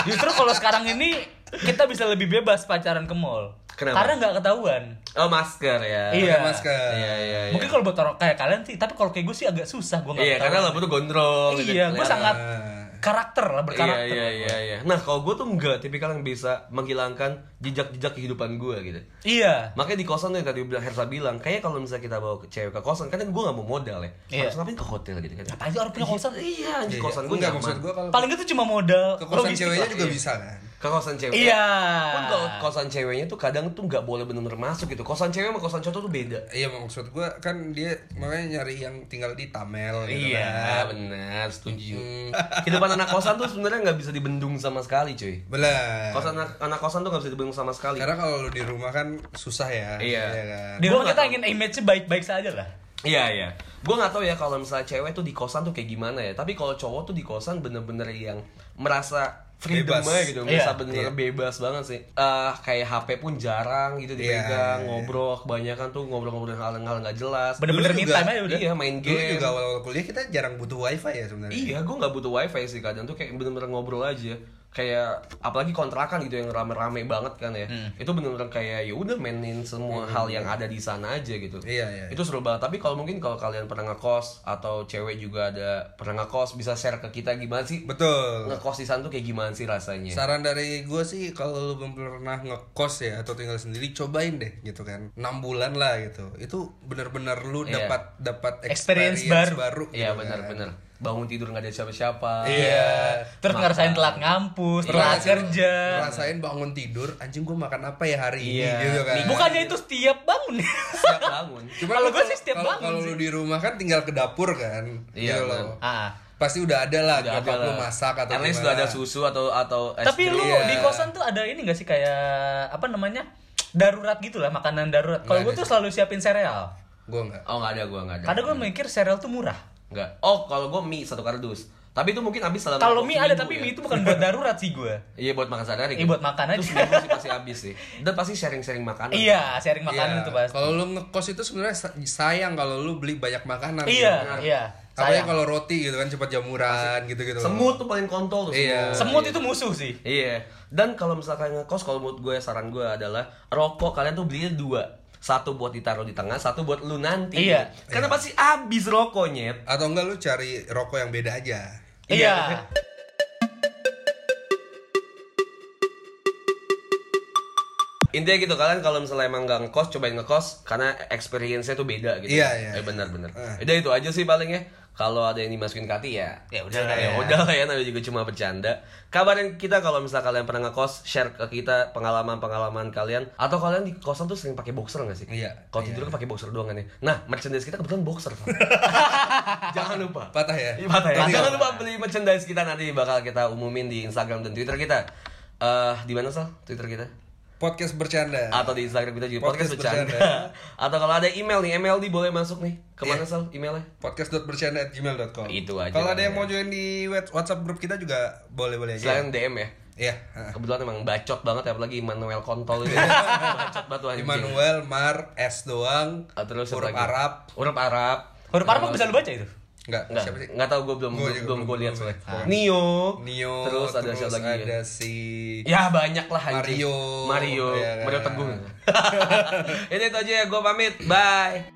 Speaker 4: Justru kalau sekarang ini kita bisa lebih bebas pacaran ke mall.
Speaker 3: Kenapa?
Speaker 4: Karena nggak ketahuan.
Speaker 3: Oh masker ya.
Speaker 4: Iya.
Speaker 2: masker.
Speaker 3: Iya iya. iya.
Speaker 4: Mungkin kalau buat orang kayak kalian sih, tapi kalau kayak gue sih agak susah gue nggak
Speaker 3: Iya, karena
Speaker 4: ketahuan.
Speaker 3: lampu tuh gondrong. gitu,
Speaker 4: Iya, gue
Speaker 3: kelihatan.
Speaker 4: sangat karakter lah
Speaker 3: Iya
Speaker 4: berkarakter.
Speaker 3: iya iya iya. Nah kalau gue tuh nggak tipikal yang bisa menghilangkan jejak-jejak kehidupan gue gitu.
Speaker 4: Iya.
Speaker 3: Makanya di kosan tuh yang tadi bilang Hersa bilang, kayaknya kalau misalnya kita bawa ke cewek ke kosan, kan gue nggak mau modal ya.
Speaker 4: Iya.
Speaker 3: Harus ngapain ke hotel gitu kan?
Speaker 4: Apalagi orang punya kosan.
Speaker 3: Iya, anjir
Speaker 2: Iya,
Speaker 3: kosan
Speaker 2: iya.
Speaker 3: gue
Speaker 2: Enggak,
Speaker 3: nyaman.
Speaker 2: maksud gue kalau
Speaker 4: Paling itu cuma modal.
Speaker 2: ke kosan
Speaker 4: logistik
Speaker 2: ceweknya
Speaker 4: lah.
Speaker 3: iya.
Speaker 2: juga bisa kan.
Speaker 3: ke kosan cewek.
Speaker 4: Iya.
Speaker 3: Pun kalau kosan ceweknya tuh kadang tuh nggak boleh bener-bener masuk gitu. Kosan cewek sama kosan cowok tuh beda.
Speaker 2: Iya maksud gue kan dia makanya nyari yang tinggal di Tamel gitu
Speaker 3: Iya.
Speaker 2: kan.
Speaker 3: Ah, benar, setuju.
Speaker 2: Hmm.
Speaker 3: Kehidupan anak kosan tuh sebenarnya nggak bisa dibendung sama sekali, cuy.
Speaker 2: Bener.
Speaker 3: Kosan anak, anak kosan tuh nggak bisa dibendung sama sekali.
Speaker 2: Iya. Karena kalau lu di rumah kan susah ya.
Speaker 3: Iya.
Speaker 2: kan.
Speaker 4: Di
Speaker 3: Gua
Speaker 4: rumah
Speaker 3: nggak
Speaker 4: kita
Speaker 3: tahu.
Speaker 4: ingin image-nya baik-baik saja lah.
Speaker 3: Iya iya. Gue nggak tahu ya kalau misalnya cewek tuh di kosan tuh kayak gimana ya. Tapi kalau cowok tuh di kosan bener-bener yang merasa freedom
Speaker 2: Bebas.
Speaker 3: aja gitu, merasa
Speaker 4: Iya.
Speaker 3: bener-bener bebas banget sih. Eh kayak HP pun jarang gitu
Speaker 2: Iya,
Speaker 3: dipegang,
Speaker 2: iya.
Speaker 3: ngobrol kebanyakan tuh ngobrol-ngobrol hal-hal nggak jelas.
Speaker 4: Bener-bener
Speaker 2: Dulu
Speaker 4: me
Speaker 2: juga-
Speaker 4: time aja udah.
Speaker 3: Iya main
Speaker 2: Dulu
Speaker 3: game.
Speaker 2: juga awal-awal kuliah kita jarang butuh wifi ya sebenarnya.
Speaker 3: Iya, gue nggak butuh wifi sih kadang tuh kayak bener-bener ngobrol aja. Kayak apalagi kontrakan gitu yang rame-rame banget kan ya.
Speaker 2: Hmm.
Speaker 3: Itu bener-bener kayak ya udah mainin semua hal yang ada di sana aja gitu.
Speaker 2: Iya, iya.
Speaker 3: Itu seru banget. Tapi kalau mungkin kalau kalian pernah ngekos atau cewek juga ada pernah ngekos bisa share ke kita gimana sih
Speaker 2: Betul.
Speaker 3: ngekos di sana tuh kayak gimana sih rasanya?
Speaker 2: Saran dari gue sih kalau lu belum pernah ngekos ya atau tinggal sendiri cobain deh gitu kan. 6 bulan lah gitu. Itu bener-bener lu
Speaker 3: Iya.
Speaker 2: dapat dapat
Speaker 4: Experience baru.
Speaker 2: gitu
Speaker 3: Iya
Speaker 2: kan.
Speaker 3: benar-benar. Bangun tidur nggak ada siapa-siapa.
Speaker 2: Iya.
Speaker 4: Terus ngerasain telat ngampus,
Speaker 3: Iya.
Speaker 4: telat kerja.
Speaker 2: Rasain bangun tidur, anjing gue makan apa ya hari
Speaker 3: Iya.
Speaker 2: ini gitu kan.
Speaker 4: Bukannya itu setiap bangun.
Speaker 3: Siap bangun.
Speaker 2: Cuma
Speaker 4: Kalau
Speaker 2: lu
Speaker 4: gua sih setiap
Speaker 2: kalau-
Speaker 4: bangun
Speaker 2: Kalau lu di rumah kan tinggal ke dapur kan.
Speaker 3: Iya,
Speaker 2: Gitu
Speaker 3: benar.
Speaker 2: loh.
Speaker 4: Ah.
Speaker 2: Pasti udah ada lah
Speaker 3: Udah ada
Speaker 2: nyokap lu
Speaker 3: lah.
Speaker 2: masak atau
Speaker 3: At least
Speaker 2: gimana.
Speaker 3: udah ada susu atau atau es
Speaker 4: Tapi lu
Speaker 3: krim.
Speaker 2: Iya.
Speaker 4: di kosan tuh ada ini gak sih kayak apa namanya? darurat gitu lah, makanan darurat.
Speaker 3: Iya,
Speaker 4: Kalau gue tuh selalu siapin sereal.
Speaker 2: Gua enggak.
Speaker 3: Oh nggak ada gua nggak ada.
Speaker 4: Kadang gue mikir sereal tuh murah.
Speaker 3: Nggak. Oh kalau gua mie satu kardus. Tapi itu mungkin habis dalam
Speaker 4: Kalau
Speaker 3: waktu
Speaker 4: mie ada
Speaker 3: seminggu
Speaker 4: tapi
Speaker 3: ya.
Speaker 4: mie itu bukan buat darurat sih gue.
Speaker 3: Iya buat makan sehari-hari.
Speaker 4: Iya, buat makan aja.
Speaker 3: Terus seminggu sih pasti habis sih. Dan pasti sharing-sharing makanan.
Speaker 4: Iya, sharing makanan
Speaker 2: Iya.
Speaker 4: tuh pasti.
Speaker 2: Kalau lu ngekos itu sebenarnya sa- sayang kalau lu beli banyak makanan.
Speaker 4: Iya,
Speaker 2: gitu kan.
Speaker 4: iya,
Speaker 2: Apalagi
Speaker 4: sayang.
Speaker 2: kalau roti gitu kan cepat jamuran gitu-gitu.
Speaker 3: Semut tuh paling kontol tuh.
Speaker 2: Iya.
Speaker 4: Semut itu musuh sih.
Speaker 3: Iya. Dan kalau misalkan ngekos kalau menurut gue saran gue adalah rokok kalian tuh belinya dua. Satu buat ditaruh di tengah, satu buat lu nanti.
Speaker 4: Iya.
Speaker 3: Karena pasti habis rokoknya.
Speaker 2: Atau enggak lu cari rokok yang beda aja.
Speaker 4: Iya.
Speaker 3: Intinya gitu kalian kalau misalnya emang nggak ngekos cobain ngekos karena experience-nya tuh beda gitu.
Speaker 2: Iya, iya.
Speaker 3: Eh, benar benar.
Speaker 2: Eh.
Speaker 3: Udah itu aja sih paling ya. Kalau ada yang dimasukin ke hati ya.
Speaker 4: Ya udah lah
Speaker 2: Iya.
Speaker 3: ya. udah lah ya namanya juga cuma bercanda. Kabarin kita kalau misalnya kalian pernah ngekos, share ke kita pengalaman-pengalaman kalian atau kalian di kosan tuh sering pakai boxer nggak sih?
Speaker 2: Iya,
Speaker 3: Kalau
Speaker 2: iya.
Speaker 3: tidur kan pakai boxer doang kan ya. Nah, merchandise kita kebetulan boxer. Fam. Jangan lupa.
Speaker 2: Patah ya?
Speaker 3: Iya, patah ya.
Speaker 2: Patah.
Speaker 3: Jangan lupa beli merchandise kita nanti bakal kita umumin di Instagram dan Twitter kita. Eh, di mana Sal? Twitter kita?
Speaker 2: Podcast bercanda.
Speaker 3: Iya. atau di Instagram kita juga podcast,
Speaker 2: Podcast
Speaker 3: bercanda.
Speaker 2: bercanda. Iya.
Speaker 3: atau kalau ada email nih, MLD boleh masuk nih. Kemana sal emailnya?
Speaker 2: podcast.bercanda@gmail.com.
Speaker 3: Itu aja
Speaker 2: Kalau ada
Speaker 3: kali
Speaker 2: yang
Speaker 3: ya.
Speaker 2: mau join di wet- WhatsApp grup kita juga boleh-boleh aja.
Speaker 3: Selain DM ya.
Speaker 2: Iya.
Speaker 3: Kebetulan emang bacot banget ya, apalagi Manuel kontol itu. bacot banget tuh anjing.
Speaker 2: Immanuel, Mar, S doang.
Speaker 3: Ah, terus apa
Speaker 2: huruf
Speaker 3: lagi?
Speaker 2: Arab.
Speaker 3: Huruf Arab.
Speaker 4: Huruf
Speaker 3: Iya.
Speaker 4: Arab bisa lu baca itu?
Speaker 2: Enggak,
Speaker 3: Enggak,
Speaker 2: siapa sih?
Speaker 3: enggak tahu gue belum
Speaker 2: Gua juga
Speaker 3: belum gue
Speaker 2: belum-
Speaker 3: lihat
Speaker 2: belum
Speaker 3: soalnya.
Speaker 2: lihat.
Speaker 3: Nio,
Speaker 2: Neo,
Speaker 3: terus ada siapa lagi? ya?
Speaker 2: ada si
Speaker 3: Ya banyak lah anjing.
Speaker 2: Mario.
Speaker 3: Mario,
Speaker 2: Ya kan?
Speaker 3: Mario Teguh. Ini itu aja ya, gue pamit. Bye.